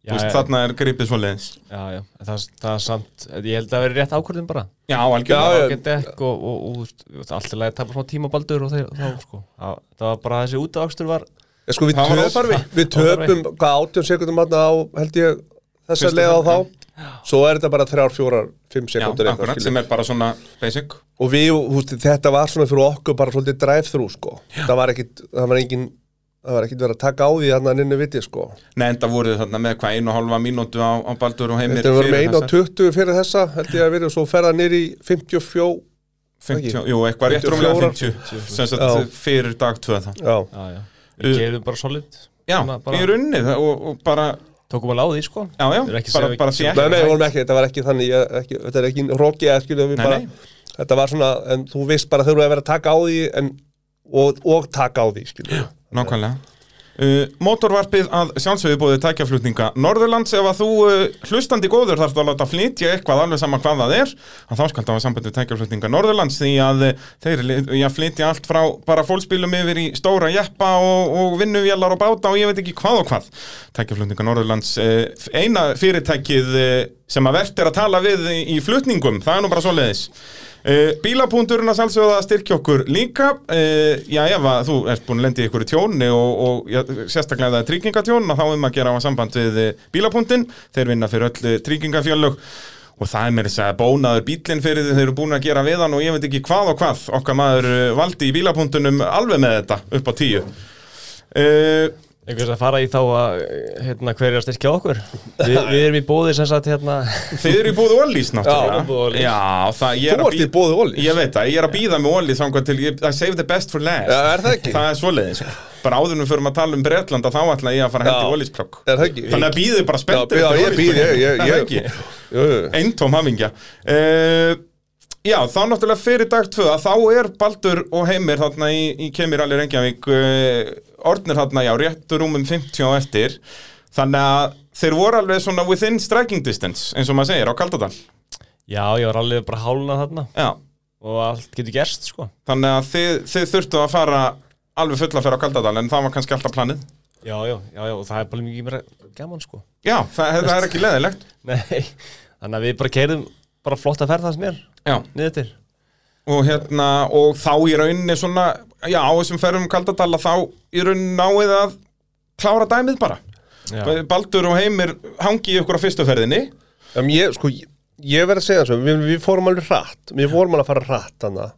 Já,
Þú veist,
já.
þarna er gripið svo leiðis
Já, já. En Það, það er samt, ég held að það veri rétt ákvörðum bara
Já,
Já, já.
algjörlega
ákvörð dekk og, og, og, og, og það er alltaf leið að tapa smá tímabaldur og þeir, þá sko það, það var bara þessi útákstur var
Ég sko, við,
Það var
töp,
óþarfi.
við töpum hvað átjón sekundum aðna á held ég þess að leiða á þá svo er þetta bara þrjár, fjórar, fimm
Já,
sekundur eitthvað
akkurat,
skilur.
sem er bara svona basic
og við, húst, þetta var svona fyrir okkur bara svolítið drive-thru sko það var ekkit, það var engin það var ekkit verið að taka á því þannig að nynnu viti sko
Nei, enda voruð þið þarna með hvað einu og hálfa mínútu á, á Baldur og heimir
þetta var með
fyrir
1 og
þessar
20 fyrir þessa held ég að verið og svo ferða nýri í 54
50, Jú, eitthvað rétt
54.
rúmlega 50 Sem sagt
Já.
fyrir dag 2 það
já,
já, já. við
Uh.
gerðum bara solid
já,
Svona bara-
í runni það- og, og bara,
Tókum að láði, sko
já, já,
Þeir ekki
bara,
segja-
bara því
Nei,
ekki
nei, vorum ekki, þetta var ekki þannig ég, ekki, Þetta er ekki rokið, skilja við
Nei,
bara
nei.
Þetta var svona, en þú veist bara þurfa að vera að taka á því en, og, og taka á því, skilja
Nákvæmlega uh, Mótorvarpið að sjálfsögðu bóðið tækjaflutninga Norðurlands ef að þú uh, hlustandi góður þarf að láta flytja eitthvað alveg sama hvað það er að þá skal það hafa samband við tækjaflutninga Norðurlands því að uh, þeir li- já, flytja allt frá bara fólksbílum yfir í stóra jeppa og, og vinnuvélar og báta og ég veit ekki hvað og hvað tækjaflutninga Norðurlands uh, eina fyrirtækið uh, sem að verðt er að tala við í, í flutningum það er nú bara svoleiðis Uh, bílapúndurinn að sjálfsögða að styrkja okkur líka uh, Já, ef að þú ert búin að lendi ykkur í tjóni og, og já, sérstaklega ef það er tryggingatjón að þá um að gera á samband við uh, bílapúndin þeir vinna fyrir öll uh, tryggingafjörlög og það er mér þess að bónaður bílinn fyrir því þeir eru búin að gera við hann og ég veit ekki hvað og hvað okkar maður uh, valdi í bílapúndunum alveg með þetta upp á tíu uh,
Einhvers að fara í þá að hérna, hver er að styrkja okkur Vi, Við erum í bóði sem sagt hérna
Þeir eru í búðu Ollís
Já, búð
náttúrulega
Ollís.
Já, það ég er
Þú
að
ert í
bí-
bóði Olís
Ég veit það, ég er að býða með Ollís þangað til ég- I save the best for last
Já, er það ekki?
Það er svoleiðis Bara áður en við förum að tala um Bretland að þá ætla ég að fara að hendi
Já.
Ólísplokk
Er það ekki?
Þannig að býðu bara
Já,
spenntur
já,
eftir
ég býð, ég,
Olísplögginu.
ég,
Er það
ég,
ekki?
Jú, jú.
Eintóm hamingja uh, Já, þá náttúrulega fyrir dag 2 að þá er Baldur og Heimir þarna í, í Kemir Allir Reykjavík uh, orðnir þarna, já, réttur rúmum 50 á eftir Þannig að þeir voru alveg svona within striking distance eins og maður segir á Kaldadal
Já, ég var alveg bara háluna þarna
Já,
og allt getur gerst, sko
þannig að þið, þið þurftu að fara alveg fulla fyrir á Kaldadal en það var kannski alltaf planið
Já, já, já, já, og það er bara mikið meira gaman, sko
Já, það, það er ekki leðilegt
Nei, þannig að við bara keirðum bara flott að ferða það sem er
Já,
niður til
og hérna, og þá í rauninni svona, já, á þessum ferðum Kaldadal að þá í rauninni náið að klára dæmið bara
Já,
Baldur og Heimir hangi í ykkur á fyrstu ferðinni
Um, ég, sko, ég- ég verð að segja þessu, við, við fórum alveg hratt, við fórum alveg að fara hratt hana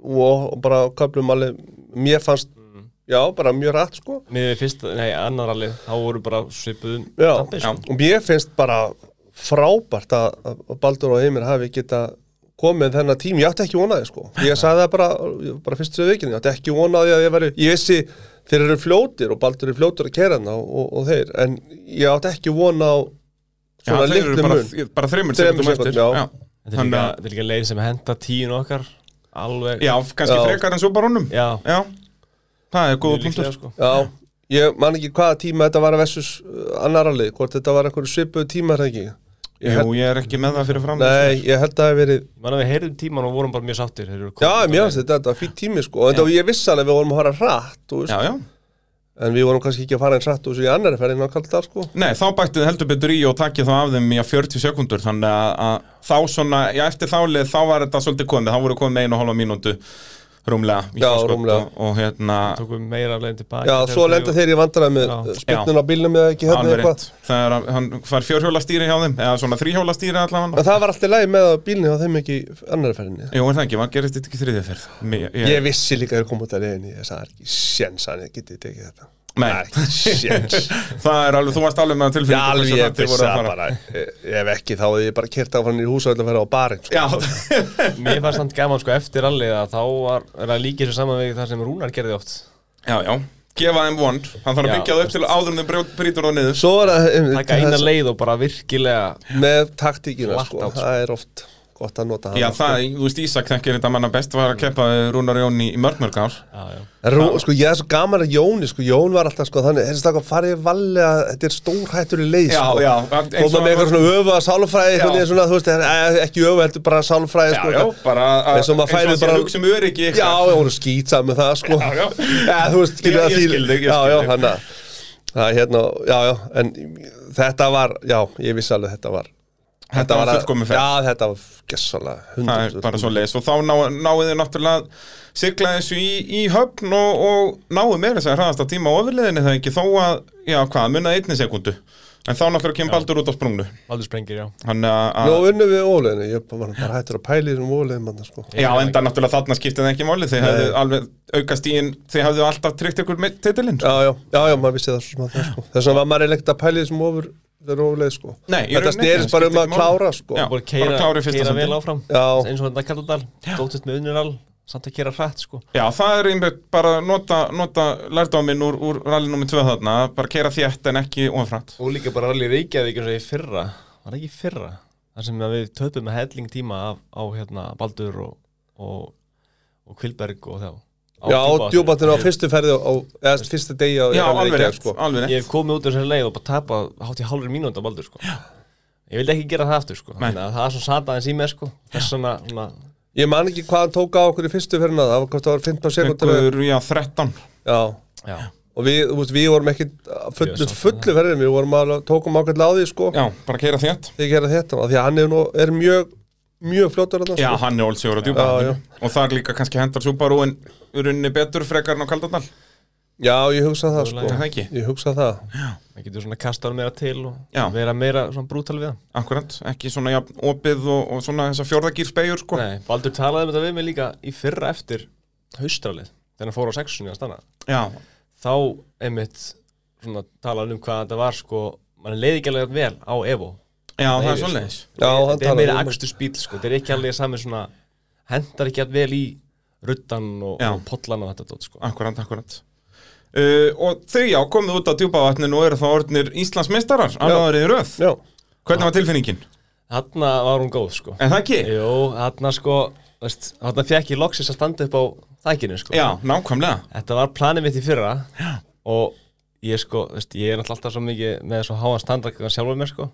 og bara köflum alveg, mér fannst,
Mm.
já, bara mjög hratt sko
niður við fyrst, nei, annar alveg þá voru bara svipuðum
já,
dampi, sko.
og mér finnst bara frábært að að Baldur og Heimir hafi geta komið þennan tím, ég átti ekki vonaði sko ég sagði það bara, bara fyrst sem vikinni, ég átti ekki vonaði að ég veri, ég vissi þeir eru fljótir og Baldur er fljótir að kera hana og, og, og þeir, en ég átti ekki vona á
Já,
svona
þeir eru
litlum
bara,
mun
bara þreymur
Þremur
sekundum eftir
sekúndum, já.
Þetta er
Þannig
líka,
að-
þetta er líka leið sem henda tíun okkar alveg
já, kannski
Já.
frekar en svo bara honum
já
Já, það er góða
mjög
punktur
líklega, sko.
Já, ég man ekki hvaða tíma þetta var að versus annaralið, hvort þetta var einhver svipuð tíma er það ekki ég
Jú, ég er ekki með það fyrir fram
Nei, ég held að það hef verið
Ég Man að við heyrðum tíman og vorum bara mjög sáttir þeir eru
Já,
komnir
mér
út á
finnst þetta, þetta var fýtt tími sko En það ég vissi alveg að við vorum að fara hratt, þú veist
Já, já
En við vorum kannski ekki að fara eins hratt úr þessu í annari ferðin að kalla það sko
Nei, þá bættið heldur betur í og takkið þá af þeim í að 40 sekundur þannig að, að þá svona, já eftir þálið þá var þetta svolítið komið, þá voru komið með einu og hálfa mínútu rúmlega í
Já,
forskot
rúmlega.
og, og hérna,
leið. tókum meira alveg tilbaka
Já, svo lenda þeir í vandræði með
Já.
spynnun á bílnum eða ekki hérna
alveg
eitthvað
rétt það er að, hann fær fjórhjólastýri hjá þeim eða svona þrýhjólastýri allavega
En það var alltaf læg með að bílni á þeim ekki í annari ferðinni
Jú, er það ekki, maður gerist þetta ekki þriðið ferð Mér- ég-
Ég vissi líka að þeir koma út að leiðinni Ég sagði það er ekki séns að þið getið tekið þetta
Nei.
Það er ekki séns
Það er alveg, þú varst alveg með
Já,
tilfinningu
alveg
hversu
ég
hratt þeir voru
pissa
að fara.
bara Eh, Ef ekki þá hefði ég bara kert áfram í hús og ætla að vera á barinn sko.
Já,
Mér fannst þannig gaman sko eftir alveg að þá var er það líkið sem saman við það sem Rúnar gerði oft
já, já Gefa þeim vond, hann þarf að
Já.
byggja það upp til áður en þeim brítur það niður
Svo er það
taka eina leið og bara virkilega
með taktíkina
Flatt
sko.
át, sko.
Það er oft gott að nota
Já,
hana,
það, þú veist, Ísak þekkir þetta manna best var að keppa við Rúnar Jón í, í mörg mörg ár
já, já.
En Rú, sko, ég er svo gaman að Jóni, sko, Jón var alltaf, sko, þannig, þessi stakka farið valli að þetta er stórhættur í leið,
Já,
sko.
já,
Og
eins
maður með eitthvað svona öfuga sálfræði,
Já.
einhvern veginn svona, þú veist, eh, ekki öfuga, heldur bara sálfræði,
Já,
sko.
já, bara að-
Eins og maður færi
sé
bara-
að hugsa um öryggi
Já, já, hún er skýtsað með það, sko.
Já, já.
þú veist, skilur
Ég-
það
ég skil þig, ég
Já,
skil
já,
þig.
þannig að, það er hérna, já, já, en þetta var, já, ég vissi alveg þetta var.
Þetta var fullkomin ferð.
Já, þetta var gessalega,
Það er bara svo leis og þá ná, náið þið náttúrulega að sigla þessu í, í höfn og, og náið meira þess að hraðast að tíma á ofurliðinni það ekki þó að, já hvað, munnaði einni sekundu en þá náttúrulega kemur Baldur út á sprungnu
Baldur sprengir, já
Þannig að- að
Nú unnum við óleginu, ég var bara hættur að pæli þessum óleginu manna sko
Já, enda náttúrulega þarna skiptið það ekki máli Þið hefðu alveg aukast í en þið hefðu alltaf tryggt ykkur með titilinn
Já, já, já, já, maður vissi það svo sem að það sko Þess vegna var maður eiginlega að pæli þessum ofur þeirra óleginu sko
Nei, í
Þetta
rauninni,
snerist bara
skiptir
um
ekki
að
máli.
klára sko
Já.
bara
bara klára
keira,
í fyrsta
keira
sæti.
vel áfram
Já.
eins og þetta Kalladal, dóttist með Uniral samt að gera hrætt sko
Já, það er einmitt bara að nota, nota lærdóminn úr, úr rally nr. 2 þarna, bara keira þétt en ekki ofrætt.
og líka bara allir Reykjavík eins og í fyrra var það ekki í fyrra þar sem að við töpum með helling tíma af, á hérna Baldur og, og, og Kvilberg og þá á
Já,
Djúpavatni.
djúbatinn á fyrstu ferði á, eða sko. fyrstu degi á
Já, alveg
Reykjavík,
rétt, alveg
ég
rétt.
hef komið út úr þessari leið og bara tapað hátt í hálfur mínúnd á Baldur sko. ég vildi ekki gera það aftur sko.
Nei.
þannig að það er svo sataðins í mér sko. þess svona, svona
Ég man ekki hvað hann tók á okkur í fyrstu ferðina það var hvort það var 15 sekundur
Einhver, já, 13.
Já,
já,
og við, þú veist, við vorum uh, ekki
Ég
fullu,
sá það.
fullu ferðin við vorum að tókum ákveðlega á því sko
Já, bara keira þétt.
þegar ég gera þetta, af því að hann er, nú, er mjög mjög sko. fljótur að það
Já, hann er ólsjóra djúpa.
Já, já.
Og þar líka kannski hendar Subaru en runni betur frekar en á Kaldadal.
já, ég hugsa það
Já,
sko
það ekki.
ég hugsa það,
það getur svona kastað meira til og
Já.
vera meira svona brútal við hann
Akkurat, ekki svona jafn, opið og, og svona þessa fjórðagýrspegjur sko.
Nei, Baldur talaði um þetta við mig líka í fyrra eftir haustralið þegar hann fór á sexunni að stanna
Já,
þá einmitt svona, talaði um hvað þetta var sko mann leiði ekki alveg vel á Evo
já, það
Nei,
er
sko.
svoleiðis.
já, hann
þetta er meira
um-
akstusbíl sko, þetta er ekki alveg sami svona hendar ekki alveg vel í ruttan og,
Já.
og pollan og þetta dót sko
Akkurat, akkurat. Uh, og þau já, komið út á djúpavatninu og eru þá orðnir Íslands meistarar, annaður í röð.
já,
Hvernig var tilfinningin?
Þarna var hún góð sko
En það ekki?
Jú, þarna sko veist, Þarna fekk ég loksins að standa upp á þækinu sko.
Já, nákvæmlega.
Þetta var planið mitt í fyrra Já. Og ég sko, veist, ég er náttúrulega alltaf svo mikið Með svo háan standarkar sjálfur mér sko.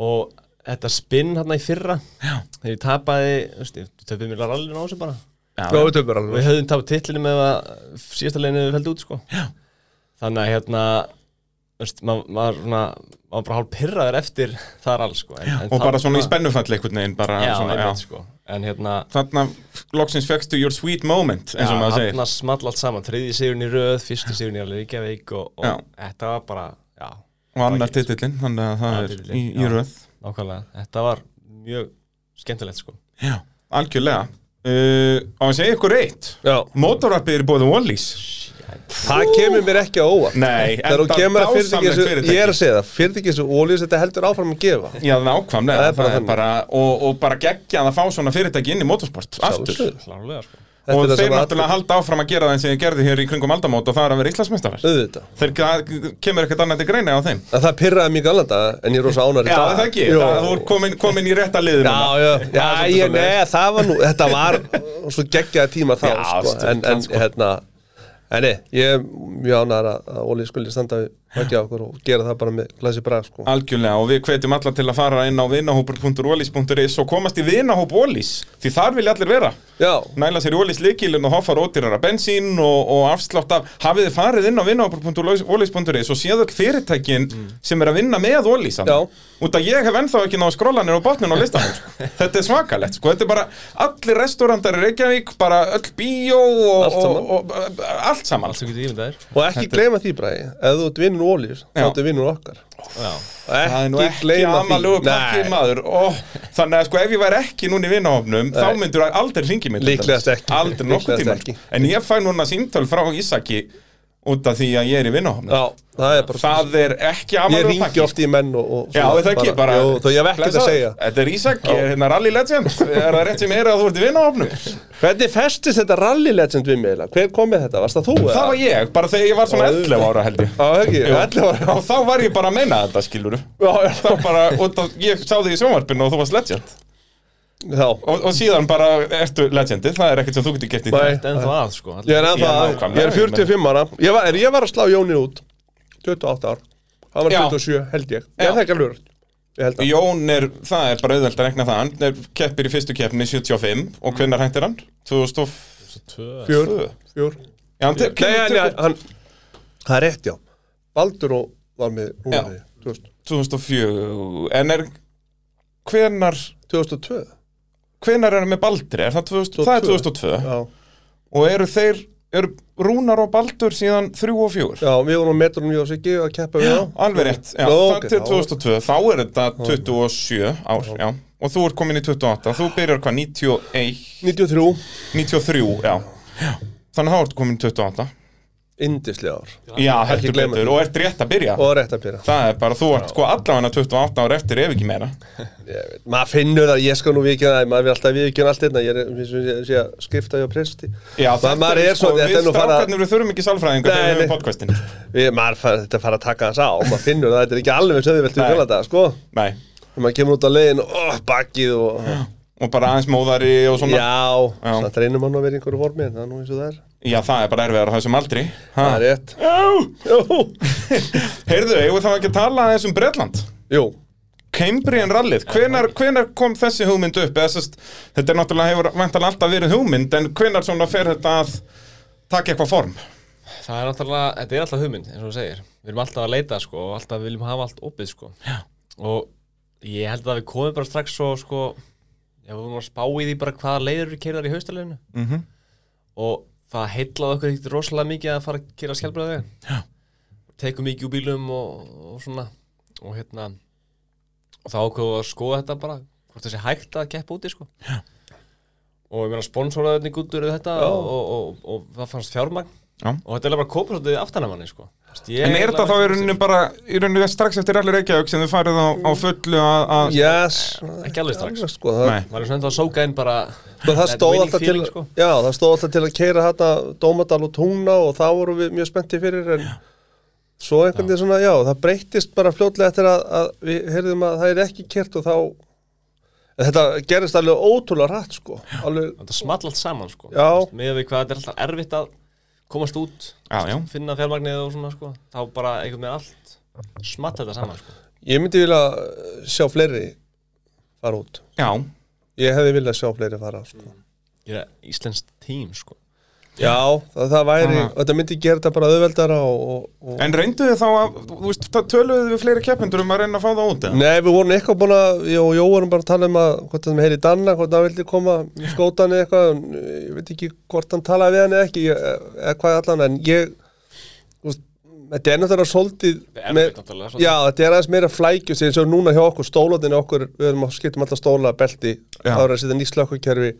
Og þetta spinn þarna í fyrra Já. Þegar ég tapaði veist, ég Töpum mér rallinu á þessu bara
já, við töfum
Við
alveg
höfðum tapað titlinu með að Síðasta leginu við feldi út sko. Þannig að hérna veist, maður mað, mað, mað bara hálf pyrraður eftir þar alls sko. en, en
Og bara
þarna-
svona í spennufall einhvern veginn, bara
Já,
svona,
einmitt
já.
sko En hérna
Þarna loksins fegstu your sweet moment, eins og maður segir.
hann small allt saman, þriði sigurinn í röð, fyrsti sigurinn í alveg Reykjavík og,
Já.
og þetta var bara, já,
Og annar titillinn, þannig að það
Annar
er í,
titillinn,
í
já.
röð.
nákvæmlega, þetta var mjög skemmtilegt sko.
Já, algjörlega. Uh, á að segja ykkur eitt.
já,
Motorrappið er búið um Wallys.
það kemur mér ekki á óvart
Nei,
þegar hún
enda
kemur að
dásamlegt
fyrirtækis
fyrirtæki.
ég er að segja það, fyrirtækis og ólýs þetta heldur áfram að gefa
Já, nákvæmlega,
Það
það
er bara
er
þannig.
bara, og, og bara geggjað að fá svona fyrirtæki inn í motorsport, aftur
Sjálfsögðu.
Klárlega sko.
Þetta
og
er það
þeir
sem að-
náttúrulega halda áfram að gera það eins og þeir gerði hér í kringum aldamót og það er að vera Íslandsmyndstafar
auðvitað
þeir það kemur ekkert annað til greina á þeim
En það pyrraði mig í galanda en ég er rosa ánar í
Já,
dag
það ekki,
Jó.
það þú er komin, komin í rétta liðum
Já, já, já,
það er
ég,
svolítið
nei, það var nú, þetta var svo geggjaði tíma þá,
Já,
sko,
stundum,
en, en,
sko.
hérna, en nei, ég er mjög ánægður að að Óli skuli standa við mæti á okkur og gera það bara með glæsi brag, sko.
Algjörlega og við hvetjum alla til að fara inn á vinahópur.olís.is og komast í vinahóp Olís því þar vilja allir vera
Já,
næla sér í Olís likilinn og hoffar ódýrara bensín og, og afslátt af hafið þið farið inn á vinahópur.olís.is og séð öll fyrirtækin sem er að vinna með Olís þarna.
Mm. Já.
út að ég hef ennþá ekki náðu skrólanir og botnin á listanum sko. þetta er svakalegt sko. þetta er bara allir restaurantar í Reykjavík bara öll bíó og
Allt saman.
og, og, og, allt saman
Allt sem getur ímyndað þér.
og ekki gleyma því, bragi, ef þú ert vinnur Ólis, þá
Já.
ertu vinnur okkar.
Já,
Og
Það er nú
Ekki
ekki
gleyma því.
amalegu pakki
Nei.
maður oh, Þannig að sko ef ég væri ekki núna í vinahofnum Þá myndur það aldrei ringi mig til
Líklegast
dæmis.
ekki.
Aldrei nokkuð
Líklegast
tíma
ekki.
En ég fæ núna símtöl frá Ísaki Út af því að ég er í vinahofnum
Já, það er bara,
Það er ekki
ég
amalegu
ringi
pakki
oft í menn og, og
sko. Já, það ekki bara
Jú, þó ég hef ekkert að
Blessaður.
segja.
Þetta er Ísaki, er hérna rally legend Er það rétt sem er að þú ert í vinahofnum
Hvernig festist þetta rally legend við mig, eiginlega? hver kom með þetta, varst það þú?
Það var ég, bara þegar ég var svona
Já,
11 ára held ég
Já, ekki,
Jú.
11 ára.
Og þá var ég bara að meina þetta, skilur
Já, já.
Það var bara, út af, ég sá þig í sjónvarpinu og þú varst legend
Já,
og, og síðan bara ertu legendið, það er ekkert sem þú getur gett í
Nei.
dag.
þetta er ennþá að sko.
Ég er ennþá,
Já,
að-
nákvæmlega,
ég er 45 ára ég var, er, ég var að slá Jóni út 28 ár, hann var
Já.
27 held ég
Já.
Ég það ekki alveg rétt. Ég held að
Jón er, það er bara auðvelt að rekna það hann er keppir í fyrstu keppni 75 og
Mm.
hvenær hættir hann? 2002
Fjör, fjör
Já, hann te-
Nei,
kemur
hann,
til
hann, það er rétt já Baldur og var með
Já.
Rúnari 2000
2004 en er hvenar
2002
hvenar er hann með Baldri? Er það, 2000, það er 2002
Já,
og eru þeir eru Rúnar og Baldur síðan 3 og 4
já við vorum á metrum ég og Siggi að keppa við þá
Alveg rétt, já,
Nú,
það
ok,
til
þá-
2002, þá er þetta 27 ár, já, og þú ert komin í 28, þú byrjar hvað, 91,
93
93, já. Þannig að það ertu komin í 28
indislega ár
Já, heldur
gleyma
betur,
því.
og ert rétt að byrja
og rétt að byrja
Það er bara, þú ert sko allavega 28 ára eftir ef ekki meira
Ég veit, maður finnur það, ég skal nú vikið það maður vil alltaf vikið allt einna ég er eins og ég sé að skipta hjá presti
Já,
Ma, maður er svo, þetta er
við
nú fara
strákarnir við þurfum ekki sálfræðingar þegar
Nei,
við höfum
nei.
podcastin
við, maður fara, þetta fara að taka þess á maður finnur það, þetta er ekki alveg söðvelt við
Nei.
fjöla þetta, sko
Nei,
þegar maður kemur út á leiðin, ó, bakið og
og bara aðeins móðari og svona Já,
já,
Já.
þannig reynir maður nú að vera í einhverju formi en það er nú eins og það er,
það er bara erfiðar á þessum aldri ha.
það er rétt
Já,
Jú.
heyrðu, eigum við þá ekki að tala aðeins um Bretland
Jú,
Cambrian rallið, hvenar, hvenar kom þessi hugmynd upp? Eða, sest, þetta er náttúrulega hefur vantalega alltaf verið hugmynd en hvenar svona fer þetta að taka eitthvað form?
Það er náttúrulega, þetta er alltaf hugmynd, eins og þú segir. Við erum alltaf að leita, sko, og alltaf viljum hafa allt opið, sko. Já. Og ég held að við komum bara strax svo, sko, ég vorum að spá í því bara hvaða leiður við keirðar í haustalinu. Mm
Mhm.
Og það heillaði okkur ekkert rosalega mikið að fara að keira skjálfbræði. Já. Tekum mikið úr bílum og, og svona, og hérna, og þá okkur að skoða þetta bara, hvort þessi hægt að keppa úti, sko. Já. Og ég meina sponsoraðinni gúttur þetta og, og, og, og það fannst fjármagn
Já.
og þetta er eiginlega bara kópa svolítið aftan af manni sko. Vist, ég
En er
eiginlega
þetta þá í
veit
rauninu bara, í rauninu strax eftir allir Reykjavík sem þið farið á, á fullu að... að-
yes
Ekki alveg strax.
sko, það,
Nei,
maður er svona ennþá að sóka inn bara
Sko, það
that
stóð
winning
alltaf
feeling, sko.
til já, það stóð alltaf til að keira þetta Dómadal og Tungna og þá vorum við mjög spenntið fyrir en svo einhvern veginn svona, já, það breyttist bara fljótlega eftir að, að við heyrðum að það er ekki kert og þá en þetta gerist alveg ótrúlega rætt sko, alveg,
þetta small allt saman sko.
Já.
Vist, með við hvað þetta er alltaf erfitt að komast út
Já, já.
finna fjármagnið og svona sko. þá bara einhvern veginn allt small þetta saman sko.
ég myndi vilja eh, sjá fleiri fara út
Já,
ég hefði viljað sjá fleiri fara sko.
Ég er Íslensk tím sko.
já, það, það væri,
Aha.
og þetta myndi gera þetta bara auðveldara og, og, og
en reyndu þið þá að, þú veist, það töluðu við fleiri keppendur um að reyna að fá það út eða?
Nei, við vorum eitthvað búin að, ég og Jó vorum bara að tala um að hvort það með heyri í Danna, hvort það vildi koma í skótan eða eitthvað, en, eh, ég veit ekki hvort hann talaði við hann eða ekki, ég- eh, eða hvað allan, en ég, þú veist, þetta er náttúrulega svolítið,
Erfitt náttúrulega, svolítið.
já, þetta er aðeins meira flækjus eins og núna hjá okkur, stólaðinni okkur, við erum að skiptum alltaf stóla, belti,
Já.
þá er að setja nýslökkukerfi,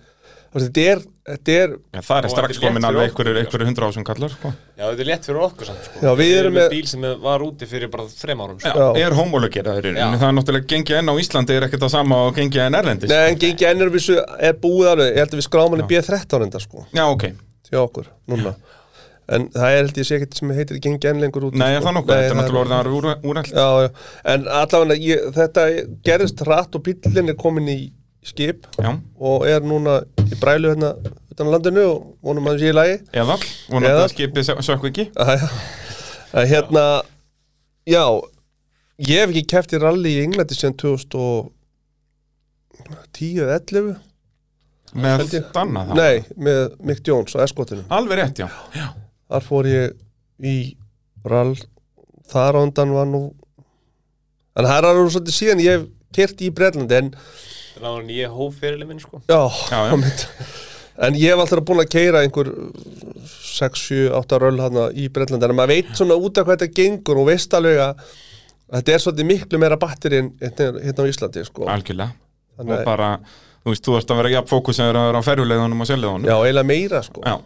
þetta er, þetta er,
Já, það er
Og
strax
þetta er
komin
létt fyrir
alveg
okkur,
einhverjir
já.
einhverjir hundra ásum kallar, sko.
já þetta er létt fyrir okkur samt, sko.
Já, við erum
með
með-
bíl sem var úti fyrir bara þrem árum sko.
Já,
Já.
er homologeraður í rauninu,
Já.
það er náttúrulega gengið enn á Íslandi er ekkert það sama og gengið enn erlendis.
nei, en gengi ennur vissu er búið alveg, ég held að við skráum hann í B13 enda, sko,
Já, ok.
hjá okkur, núna. En það er held ég sé ekkert sem heitir gengi enn lengur út.
Nei, er
sko.
það nokkuð, þetta er
það
náttúrulega orðið að vera úr- úrelt.
já, já. en allavega ég, þetta gerist rætt og bíllinn er komin í skip
Já,
og er núna í brælu hérna utan á landinu og vonum að það sé í lagi
eða, vonandi
Eða.
að skipið sökku ekki.
að, að hérna já, ég hef ekki keft í rally í Englandi síðan 2010 eða 11
Með
Held ég.
danna þá.
nei, með Mick Jones á eskotinu
Alveg rétt, já. Já,
þar fór ég í rall þar á undan var nú en það er alveg svolítið síðan ég hef kert í Breitlandi en
þannig að hann ég hóf fyrirlið minn sko.
Já,
Já, já.
já. En ég hef alltaf búin að keira einhver 6, 7, 8 röll hana í Breitlandi en maður veit svona út af hvað þetta gengur og veist alveg að þetta er svolítið miklu meira batteri en hérna hérna á Íslandi sko.
algjörlega.
Þannig
Og
að-
bara, þú veist, þú ert að vera jafn fókusaður að vera á ferjuleiðunum og seljaðunum.
Já, eiginlega meira sko.
Já.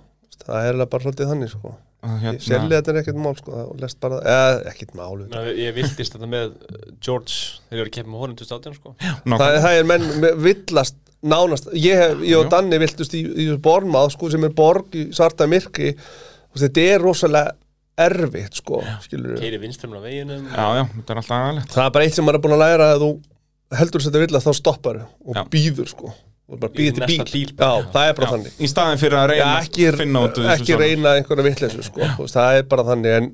Það er eiginlega bara svolítið þannig sko.
Og hérna-
Selja þetta er ekkert mál sko. Það lest bara, eða, ekkert mál
Þannig að ég viltist þetta með uh, George þegar ég var að keppa með honum 2018 sko.
það,
nákvæmlega.
það er menn með- villast nánast, ég, hef, ég og
Já.
Danni viltust í, í Bormað sko sem er borg í svarta myrkri og þetta er rosalega erfitt sko, skilur
keiri vinstrumla veginum
Já, já, þetta er alltaf aðalegt.
það er bara eitt sem maður er búin að læra að þú heldur þetta villast þá stoppar og
Já.
býður sko og bara
Í
býður til
næsta
bíl.
bíl bara,
já, það er bara þannig
Í staðin fyrir að
já,
reyna að
ekki,
finna út úr
ekki
sjálfur.
reyna einhverja vittleysu sko, þú veist, það er bara þannig en,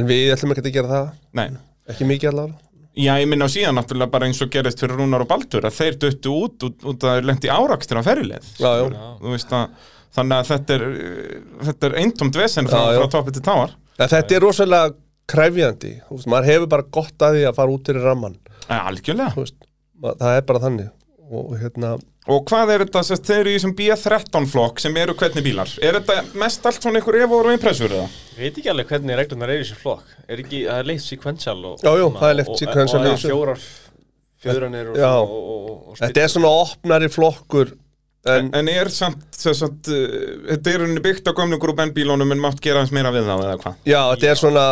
en við ætlum ekki að gera það
Nei.
ekki mikið allavega
Já, ég minna á síðan náttúrulega bara eins og gerist fyrir Rúnar og Baldur að þeir döttu út út, út að þeir lendi árakstur á ferjuleið.
já, já.
Þú veist að, þannig að þetta er, eh, þetta er eintomt vesen frá,
Já, já.
frá toppi til táar.
En þetta er rosalega krefjandi þú veist, maður hefur bara gott að því að fara út fyrir ramman
Ja, algjörlega.
þú veist, ma- það er bara þannig og hérna,
Og hvað er þetta sem þeir eru í þessum B13 flokk sem eru hvernig bílar? Er þetta mest allt svona einhver Evo og impressur eða?
Ég veit ekki alveg hvernig reglunar er í þessu flokk Er ekki, það er leitt sequential og,
Já, já,
og-
það er leitt
og-
sequential í
Og það er
þessu.
fjórar fjóranir og,
Já.
og, og, og, og
þetta er svona opnari flokkur en,
En er samt, sem sagt, uh, þetta er henni byggt á gömlum grúpen bílónum en mátt gera hans meira við þá eða hvað?
já, þetta er svona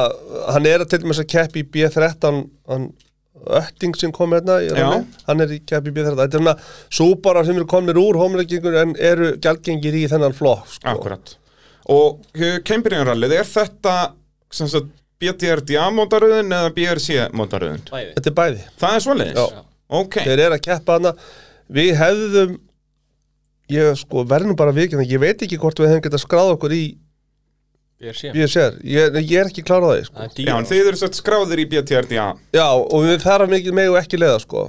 hann er að til dæmis að keppi í B13 hann ötting sem kom hérna í
Já.
rally, hann er í keppi í B13 þetta er svona súparar sem eru komnir úr homleggingur en eru gjaldgengir í þennan flokk sko.
Akkurat. Og kembriðanrallið, er þetta sem sagt BTRDA mótaröðin eða BRC mótaröðin?
bæði
þetta er bæði
Það er svoleiðis?
Já.
Ok,
þeir eru að keppa hana við hefðum ég sko verðum bara vikið ég veit ekki hvort við hefðum getað skráð okkur í
Ég er síðan
BSR, ég, ég er ekki klárað það sko.
Það er
já, en
dýra
þið eru satt skráðir í BTRDA.
já og við þarfum ekki megu ekki leiða sko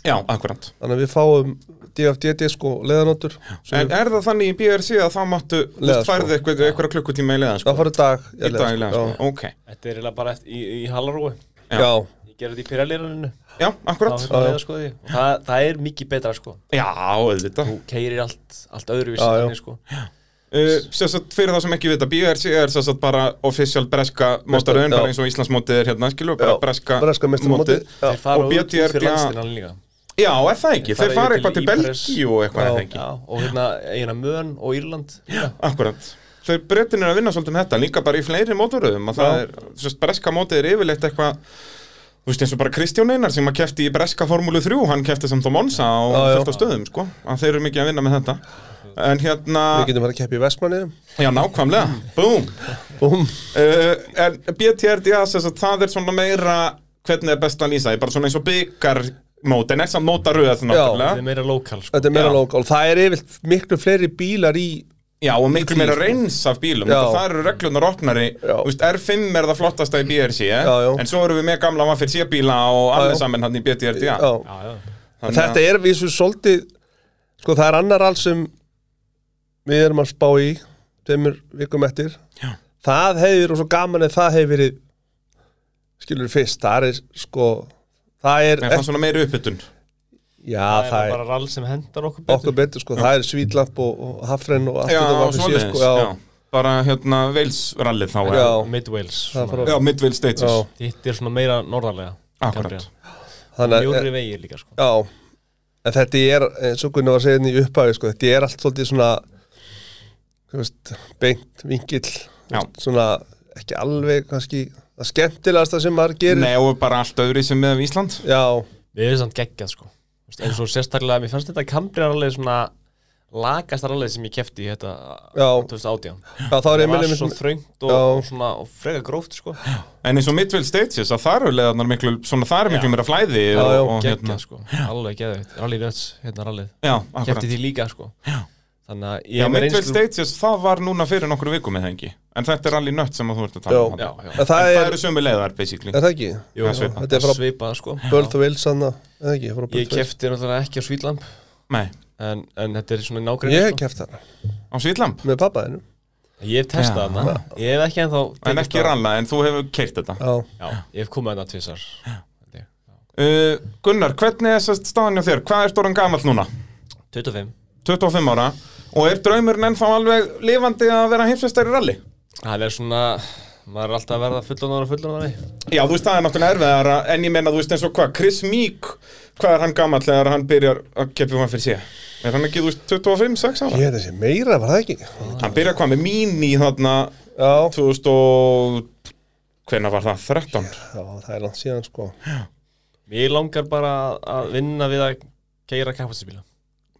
Já, akkurat.
þannig að við fáum DFDD sko leiðanóttur Svo
En
við-
er það þannig í BRC að þá máttu, þú
Leiða,
veist, færði eitthvað, eitthvað klukkutíma í leiðan, sko?
það farið dag ég
Í
leiða,
dag í leiðan,
sko.
sko? Ok.
Þetta er eiginlega bara eftir, í, í halarúi
já, já.
Ég gerði þetta í pyrralýraninu
Já,
Þá
akkurat.
fyrir að leiða sko því Og það, það er mikið betra sko
Já, auðvitað.
Þú keirir allt, allt öðruvísi
Já, já.
þannig, sko.
Uh, sem sagt, fyrir það sem ekki vita, BRC er sem sagt bara official breska mótaröðin,
já.
bara eins og Íslandsmótið er hérna, skilu, bara breska,
breska mestarmótið
Þeir fara
Og
út út
BTRDA
fyrir landstinnan líka
Já, er það ekki?
Þeir
Þeir fara
fara
eitthvað til
yfir til Ípres.
Belgíu og eitthvað,
Já.
er það ekki?
Já, og hérna eina mön og Írland líka.
Akkurat. Þeir breytin er að vinna svolítið með þetta, líka bara í fleiri mótaröðum, að það
Já.
er, sem sagt, breska mótið er yfirleitt eitthvað, þú veist eins og bara Kristján Einar sem að kefti í breska formúlu 3, hann kefti samt á Monsa og
Já, já.
fullt á stöðum, sko, að þeir eru mikið að vinna með þetta. En hérna,
við getum verið að keppi í Vestmanni
já, nákvæmlega, búm!
Búm.
uh, En BTRDA sem sagt, það er svona meira hvernig er best að lýsa, því, bara svona eins og byggarmót en er samt mótaröð
Það er
náttúrulega
meira lokal sko.
þetta er meira
Já.
lokal það er yfir miklu fleiri bílar í
Já, og miklu meira reyns af bílum
Já.
Það eru reglunar opnari
Já.
Þú veist, R5 er það flottasta í BRC eh?
Já, já.
En svo erum við með gamla Mafir C-bíla og
Já,
allir
já.
saman hann í BTRDA
já.
Já, já
Þannig að-
þetta er við svo svolítið sko það er annar all sem við erum að spá í tveimur vikum eftir
Já.
það hefur og svo gaman eða það hefur verið skilur fyrst það er sko það er,
Er það svona meiri uppbytun
já
Það er
það er
bara rall sem hendar okkur
okkur betur sko það er svítlamp og, og hafren og allt
Já,
þetta var fyrir
svoleiðis
síðan sko já,
já. Bara hérna Veils-rallið þá
Já.
Já,
Mid Wales
Það
svona.
frá-
já Midville Stages
já,
Hitt er svona meira norðarlega
Akkurat.
Cambria.
þannig að eh,
Mjóri vegir líka sko
já, en þetta er eins og Gunnar var að segja hérna í upphæfi sko þetta er allt svolítið svona þú veist, beint vingill
Já.
svona ekki alveg kannski það skemmtilegasta sem maður gerir
Nei, og bara allt öðru sem með Ísland
Já,
Við erum samt geggjað sko Þú veist, eins og sérstaklega, mér fannst þetta Cambria rallið svona lagast rallið sem ég kefti í þetta
Já.
2018
já þá er ég
Það var
minni
svo
mitt
þröngt og,
Já.
og svona og frega gróft sko
En eins og Midville Stages, að það eru leðarnar miklu Svona það eru miklu
Já.
meira flæði
Já,
og,
já.
og
Geggjað
hérna
sko, alveg geðvitt Rally Nuts, hérna rallið
Já, akkurat
Kefti því líka sko Já. Þannig að ég
Já,
er með
Midville
reynslu-
Stages, það var núna fyrir nokkru vikum eða ekki En þetta er allir nött sem að þú ert að tala
Já.
um þarna.
Já, já
En
En
það
það
er,
eru sömu leiðar, basically
er það ekki?
Jú,
Það er svipað.
Þetta er frá-
svipað sko
Börð og Vils hann eða ekki? frá Börð
Ég
og Wales.
kefti náttúrulega ekki á Svítlamp
Nei,
en, en þetta er svona nágrinn
sko.
Ég hef keft hana
á Svítlamp
með pappa þennum
Ég hef testað
Já.
hana Ég hef ekki ennþá
En
tekið
ekki
það.
ralla, en þú hefur keirt þetta
Já,
Já, ég hef komið hana tvisar
uh, Gunnar, hvernig er þess staðan hjá þér? Hvað er stóran gamall núna?
25
25 ára Og er draumurinn ennþá alveg lifandi að vera heimsveistari rally?
Það er svona Maður er alltaf að verða fullanóra fullanóra
Já, þú veist, það er náttúrulega erfiðara En ég menna, þú veist, eins og hvað, Chris Meek Hvað er hann gamall þegar hann byrjar að keppi um hann fyrir sé? Er hann ekki, þú veist, 25, 6 ára?
ég hef þessi meira, var það ekki?
Hann byrjar hvað með mín í þarna
Já,
2000 og... Hvenær var það? 13?
já það er langt síðan sko
Mér langar bara að vinna við að keira kapastisbíla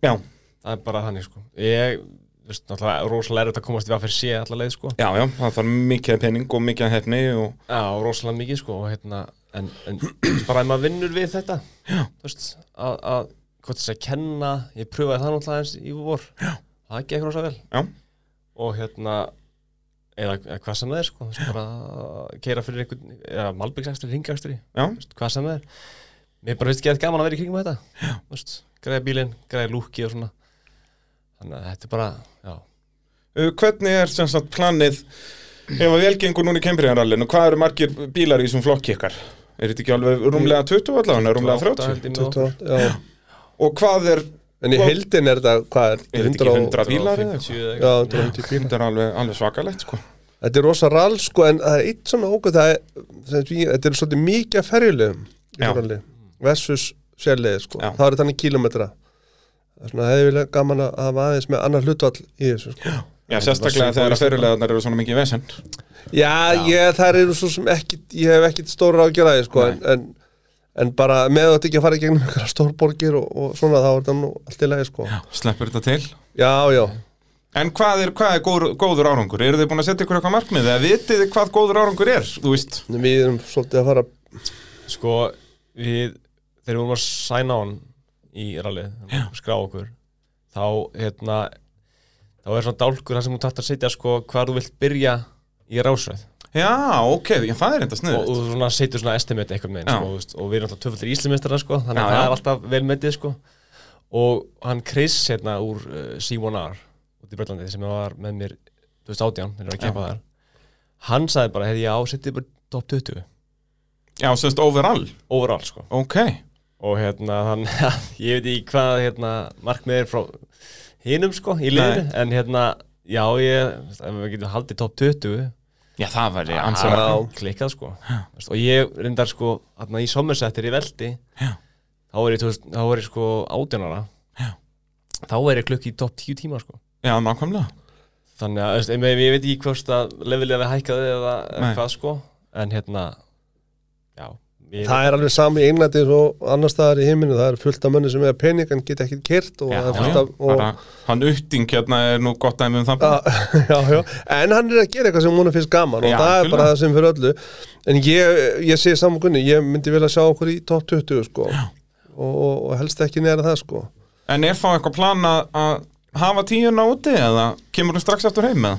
Já,
Það er bara þannig sko Ég, þú veist, náttúrulega rosalega erfitt að komast við að fyrir sé allar leið sko
já, já, það þarf mikið af pening og mikið af hefni og...
Já, rosalega mikið sko og hérna, en, en þú veist, bara ef maður vinnur við þetta Já. þú veist, að, að hvort þess að kenna, ég pröfaði það náttúrulega eins í vor, Já. það gekk rosa vel
Já.
og hérna eða, eða hvað sem það er sko þú veist, bara keira fyrir einhvern eða malbyggsakstri, ringakstri,
Já.
þú veist, hvað sem það er mér bara finnst ekki að gaman að vera í kringum þetta Já. þú veist, græða bílinn, græða lúki og svona þannig að þetta er bara Já.
Uh, Hvernig er sem sagt planið ef að velgengur núna í kembriðanrallinu hvað eru margir bílar í þessum flokki ykkar? Er þetta ekki alveg rúmlega 20 allavega, rúmlega 30?
30
28, já.
Og hvað er,
En í heildin er þetta, hvað er?
er þetta ekki 100
og-
bílar eða eitthvað?
50 eða
Já, 150 bílar
Þetta er alveg, alveg svakalegt sko
Þetta er rosa rall sko en það er eitt svona ógæð það er, sem því, þetta er svolítið mikið af ferjulegum í
Já.
ralli versus sérlegið sko
Já.
það eru þannig kilometra Það er svona hefði vilja gaman að hafa aðeins með annar hlutvall í þessu sko.
Já, sérstaklega þegar að fyrirlegarnar eru svona mikið vesend
Já, ég, þær eru svo sem ekki, ég hef ekkit stóra ágjör aðeins sko, en, en, en bara með þetta ekki að fara í gegnum einhverja stórborgir og, og svona þá er þetta nú allt í lagi sko. Já,
Sleppur þetta til
já, já.
En hvað er, hvað er góður, góður árangur? Eru þið búin að setja ykkur eitthvað markmið? Eða vitið þið hvað góður árangur er? Þú veist,
En við erum svolítið að fara
Sko, við þegar við vorum að sæna á hann í rallið, þegar við skrá okkur þá, hérna þá er svona dálkur þar sem hún tætt að setja sko hvar þú vilt byrja í rásræð
já, ok, já, það er enda
og
sniðið
þú svona setur svona estimate eitthvað með
Já.
sko, þú veist, og við erum alltaf tvöfaldir íslumistara sko, þannig
Já,
að
já.
það er alltaf vel metið sko og hann Chris hérna úr uh, C1R út í Brellandi sem var með mér 2018 þegar ég var að kempa þar hann sagði bara, hefði ég á setið bara top 20
Já, semst overall,
overall sko
ok
og hérna hann, ég veit ekki hvað hérna, markmið er frá hinum sko í liður, en hérna já, ég, ef við getum haldið top 20
Já, það væri
það
ansvar
var klikkað sko Veist, og ég reyndar sko, hérna í sommersettir í veldi,
Já.
þá er ég, þú veist, þá er ég sko átjónara
Já.
þá er ég klukki í top 10 tíma sko
Já, nákvæmlega
þannig að, veist, ég, ég veit ekki hvort að levelið við hækkaði eða
Nei.
Nei. hvað sko en hérna já, ég,
Það er alveg sami í Englandi og annar staðar í heiminu, það er fullt af mönni sem er pening en get ekki kyrt og
Já,
það er
Já,
fullt af og,
bara, hann utting hérna er nú gott dæmi um það bara.
já, já, já. en hann er að gera eitthvað sem hún finnst gaman og
Já,
það er
algjörlega.
bara það sem fyrir öllu en ég, ég sé samankunni, ég myndi vel að sjá okkur í top 20 sko og, og, og helst ekki neðar en það sko
En er þá eitthvað plan að, að hafa tíuna úti eða kemur hún strax eftir heim með?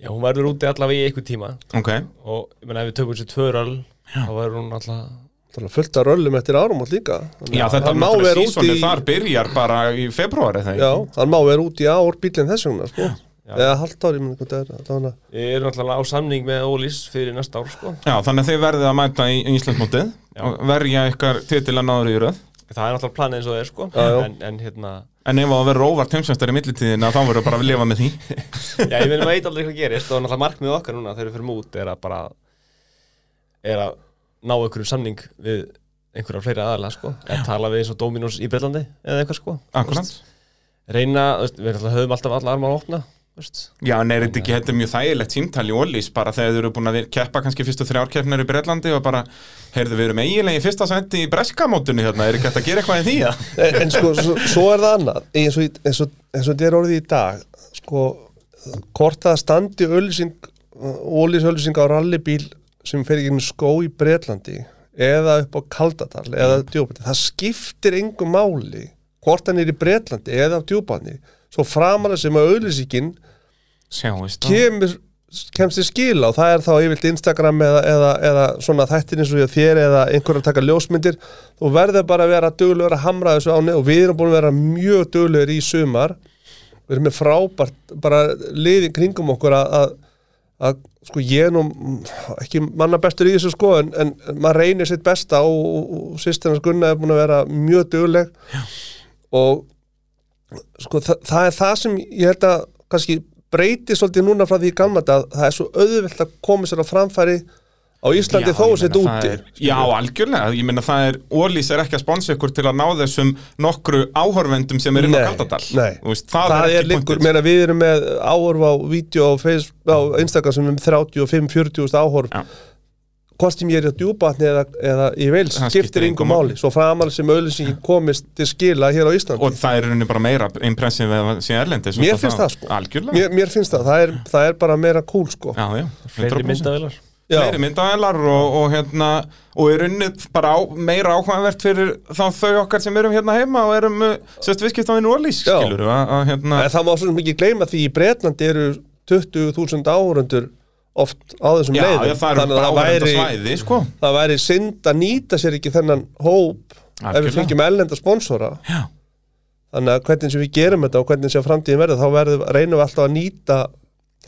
já, hún verður úti allavega í einhver tíma
Ok,
og ég meina ef við tökum þessi tvöröl þá verður hún alltaf
Það er fullt af röllum eftir árum átt líka Þannig
já
að
þetta
hann má
náttúrulega
vera
sísoni
út í-
þar byrjar bara í februari þegar
Já, hann má vera út í ár bílinn þess vegna sko
Já.
eða halvt ári, minn, hvað það er allavega.
ég er náttúrulega á samning með Ólís fyrir næsta ár sko.
Já, þannig að þið verðið að mæta í í Íslandsmótið
Já.
og verja ykkar titilan náður í röð
það er náttúrulega planið eins og það er sko.
Já, já.
en, en hérna
En ef það verður óvart heimsveistar í millitíðin þá verður bara að lifa með því
já, ég meina veit aldrei hvað gerist og náttúrulega markmið okkar núna þegar við fyrir mút er að bara er að ná einhverjum samning við einhverja fleiri aðalega sko. að tala við eins og Dominos í Breitlandi eða eitthvað sko
Akkurat
reyna, þú veist, við náttúrulega höfum alltaf alla armar að opna
Já, en er þetta ekki, þetta er mjög þægilegt símtal í Ólís bara þegar þau eru búin að vir- keppa kannski fyrstu þrjárkeppnir í Breitlandi og bara heyrðu við erum eiginlega í fyrsta senti í Breskamótinu hérna, er ekki hægt að gera eitthvað í því að
en, en sko, svo, svo er það annað eins og, í- eins, og, eins og þetta er orðið í dag sko, hvort það standi ölýsing, ólýsölýsing á rallybíl sem fer ekki skó í Bretlandi eða upp á Kaldadal eða djúbæti, það skiptir engu máli hvort hann er í Bretlandi eða á djúbæti svo framalega sem að ölýsingin
Sjáist það
kemur kemst í skil á, það er þá yfirlt Instagram eða, eða, eða svona þættin eins og ég þér eða einhverjum að taka ljósmyndir þú verður bara að vera duglegur að hamra þessu áni og við erum búin að vera mjög duglegur í sumar við erum með frábært bara liði kringum okkur að, að, að sko ég er nú mm, ekki manna bestur í þessu sko en, en maður reynir sitt besta og, og, og sýstirnas Gunna er búin að vera mjög dugleg og sko, þa það er það sem ég held að kannski breyti svolítið núna frá því í gamla dag það er svo auðvelt að koma sér á framfæri á Íslandi
Já,
þó
ég
að setja
meina, það
úti
er- Já, algjörlega, ég meina það er Ólís er ekki að sponsa ykkur til að ná þessum nokkru áhorvendum sem er inn á
Nei,
Kaldadal
nei.
Þú veist, það,
það
er
er
ekki
líkur,
punktur
meina við erum með áhorf á vídeo á, Facebook, á Instagram sem er með 35-40 áhorf
Já.
hvort sem ég er í djúbatni eða, eða í veils,
Það skiptir
skiptir
engu
yngu máli svo framal sem auðlýsingin komist til skila hér á Íslandi
Og það er rauninni bara meira impressið að sé erlendis
Mér
og
finnst það, sko.
Algjörlega
mér, mér finnst það, það er, það er bara meira cool sko
Já, já,
fleiri
100%.
myndavilar
Já.
fleiri myndavælar og, og hérna og er unnið bara á, meira áhugavert fyrir þá þau okkar sem erum hérna heima og erum, uh, sérst viðskipt á einu ólís
Já.
skilur við að að, hérna
En það má svo sem ekki gleyma því í Bretlandi eru 20.000 áhörundur oft á þessum
já,
leiðum
já, það eru
um að
bara
það
áhugavert
væri,
svæði sko.
það væri synd að nýta sér ekki þennan hóp ef
Algjörlega.
við fengjum ellenda sponsora
Já.
þannig að hvernig sem við gerum þetta og hvernig sem framtíðin verður þá verður, reynum við alltaf að nýta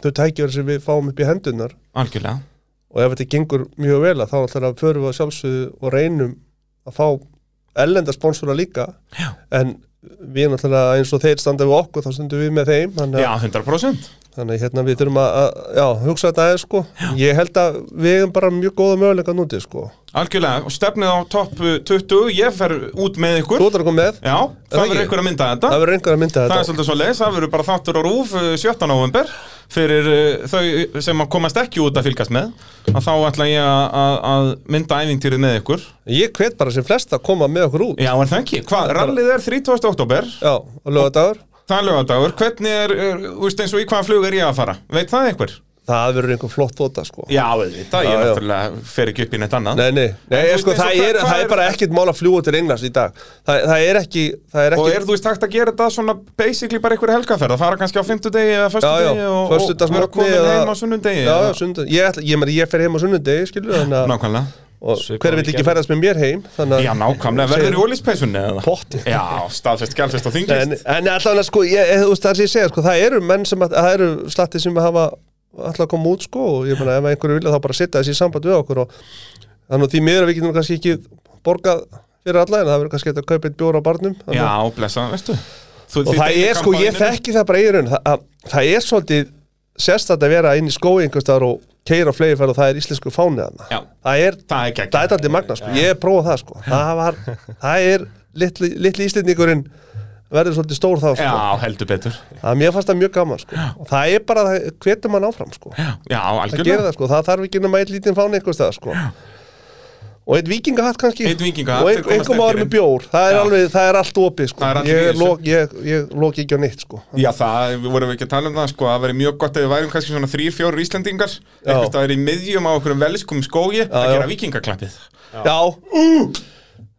þau tækjur sem við fáum upp í hendunar
algjörlega
og ef þetta gengur mjög vel að þá alltaf förum við að sjálfsögðu og reynum að fá ellenda sponsora líka
Já.
en við náttúrulega eins og þeir standa við okkur þá stundum við með þeim þannig að-
já, 100%
Þannig að hérna við þurfum að, að já, hugsa þetta aðeins sko. Ég held að við erum bara mjög góða möguleika núti sko.
Algjörlega, og stefnið á topp uh, 20, ég fer út með ykkur
Þú ætlar að koma með
Já, það
það
verður
ekki?
ykkur að mynda þetta
Það verður einhver að mynda
Það er
þetta
svolítið svo leiðis, það verður bara þáttur á rúf uh, 17. november fyrir uh, þau sem að komast ekki út að fylgast með að þá ætla ég að- að að mynda ævintýrið með ykkur
Ég hvet bara sem flesta að koma með okkur út
Já, er það ekki? Hvað, rallið er 30. oktober
Já, og lögadagur
Það er lögadagur, hvernig er, er úst eins og í hvaða flug er ég að fara? Veit það einhver?
Það verður einhver flott þóta sko
Já, auðvitað, ég
Já, já.
náttúrulega fer ekki upp í neitt annað
Nei, nei, nei
þú
sko,
veist
það,
eins og
er,
hvað-
það
hvað
er
er-
bara ekkert mál að fljúa til Englands í dag Það, það er ekki, það er ekki
Og er þú veist hægt að gera þetta svona basically bara einhverja helgaferð að fara kannski á fimmtudegi eða
Já, já,
föstudegi og, og
föstudagsmorgni
vera komin
eða-
heim á sunnudegi
Já, já,
eða-
sunnudegi, ég, ætla- ég, meni, ég fer heim á sunnudegi, skilur þannig að
Nákvæmlega
og
Svipað
hver vil
við
ekki
gerðum.
ferðast með mér heim þannig
Já,
að
nákvæmlega, verður í ólíspeysunni eða?
Pottið.
Já, staðfest, gælfest og
en,
þinglist
en allavega sko, ég, ég, þú veist það sem ég segja sko, það eru menn sem, að, það eru slatti sem hafa alltaf koma út sko og ég meina ef einhverju vilja þá bara setja þessi í samband við okkur og þannig að því miður að við getum nú kannski ekki borgað fyrir alla en það verður kannski hægt að kaupa eitt bjóra á barnum þannig
Já,
að-
blessa, veistu Þú,
og
þið
það
deilið
er sko, ég
kampaninu.
þekki það bara í raun það, að, það er svolítið sérstætt að vera inn í skói einhverstaðar og keira á fleifar og það er íslensku fánið þarna.
Já.
það er
Það er gegn
það er aldrei magna, sko. ég prófa það sko. það, var, það er litli, litli íslendingurinn verður svolítið stór þá sko.
Já, heldur betur
það, mér fannst það mjög gaman sko. og það er bara, það hvetur mann áfram sko.
Já,
það gerir
algjörlega
það, sko. það þarf ekki nema einn lítinn fáni einhvers stað sko. og einn vikingahatt kannski
Einn vikingahatt,
og
þeir
ein,
komast
einhver
ekki
maður
inn.
með bjór það er,
Já.
alveg, það er allt opið sko.
Það er allir í
ég,
þessu.
lok, ég, ég loki ekki á neitt sko.
Já, það, við vorum ekki að tala um það, sko, það verið mjög gott ef við værum kannski svona þrír, fjórir Íslendingar einhvers staðar í miðjum á okkur um veliskum skógi að
já.
gera vikingaklappið
já, já,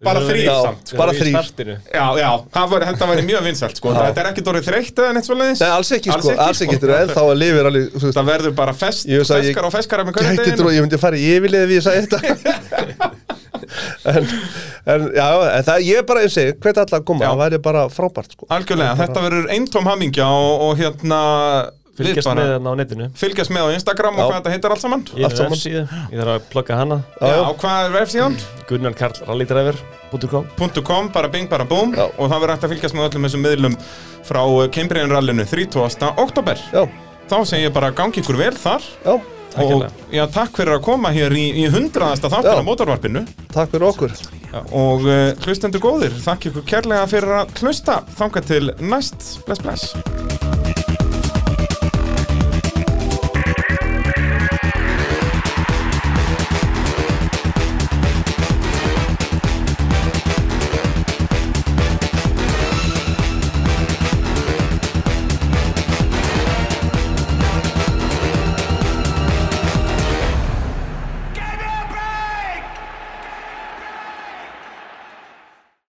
Bara
Við
þrír
höfum verið-
samt
við
bara
höfum verið í
þrír.
startinu.
Já, já, það var, þetta væri mjög vinsælt, sko Þetta er ekki dórið þreytt eða neitt svoleiðis
Nei, alls ekki sko, alls ekki,
sko.
en þá að lifir alveg þú veist,
Það verður bara fest,
Ég veist að ég
feskar og feskar með hverju
gæti
deginu
trú að ég myndi fara í yfirlið ef ég sagði þetta en, en já, en það ég er bara eins og segi, hvert allar að koma
Já.
það væri bara frábært sko
Algjörlega, þetta verður eintóm hamingja og, og hérna við
Fylgjast
bara-
með þarna á netinu
fylgjast með á Instagram og
Já.
hvað þetta heitir allt saman
Ég
Allt
er
saman.
vefsíðu, ég þarf að plugga hana
Já,
já.
hvað er vefsíðan?
gunnarkarlrallydriver.com
.com, bara bing, bara búm
Já.
og það verður hægt að fylgjast með öllum þessum miðlum frá uh, Cambrian-rallinu 30. oktober
já,
Þá segir ég bara gangi ykkur vel þar
já,
og
Takkilega.
já, takk fyrir að koma hér í, í 100. þáttur
Já.
á mótorvarpinu
takk fyrir okkur
og uh, hlustendur góðir, þakk ykkur kærlega fyrir að hlusta þanga til næst, bless bless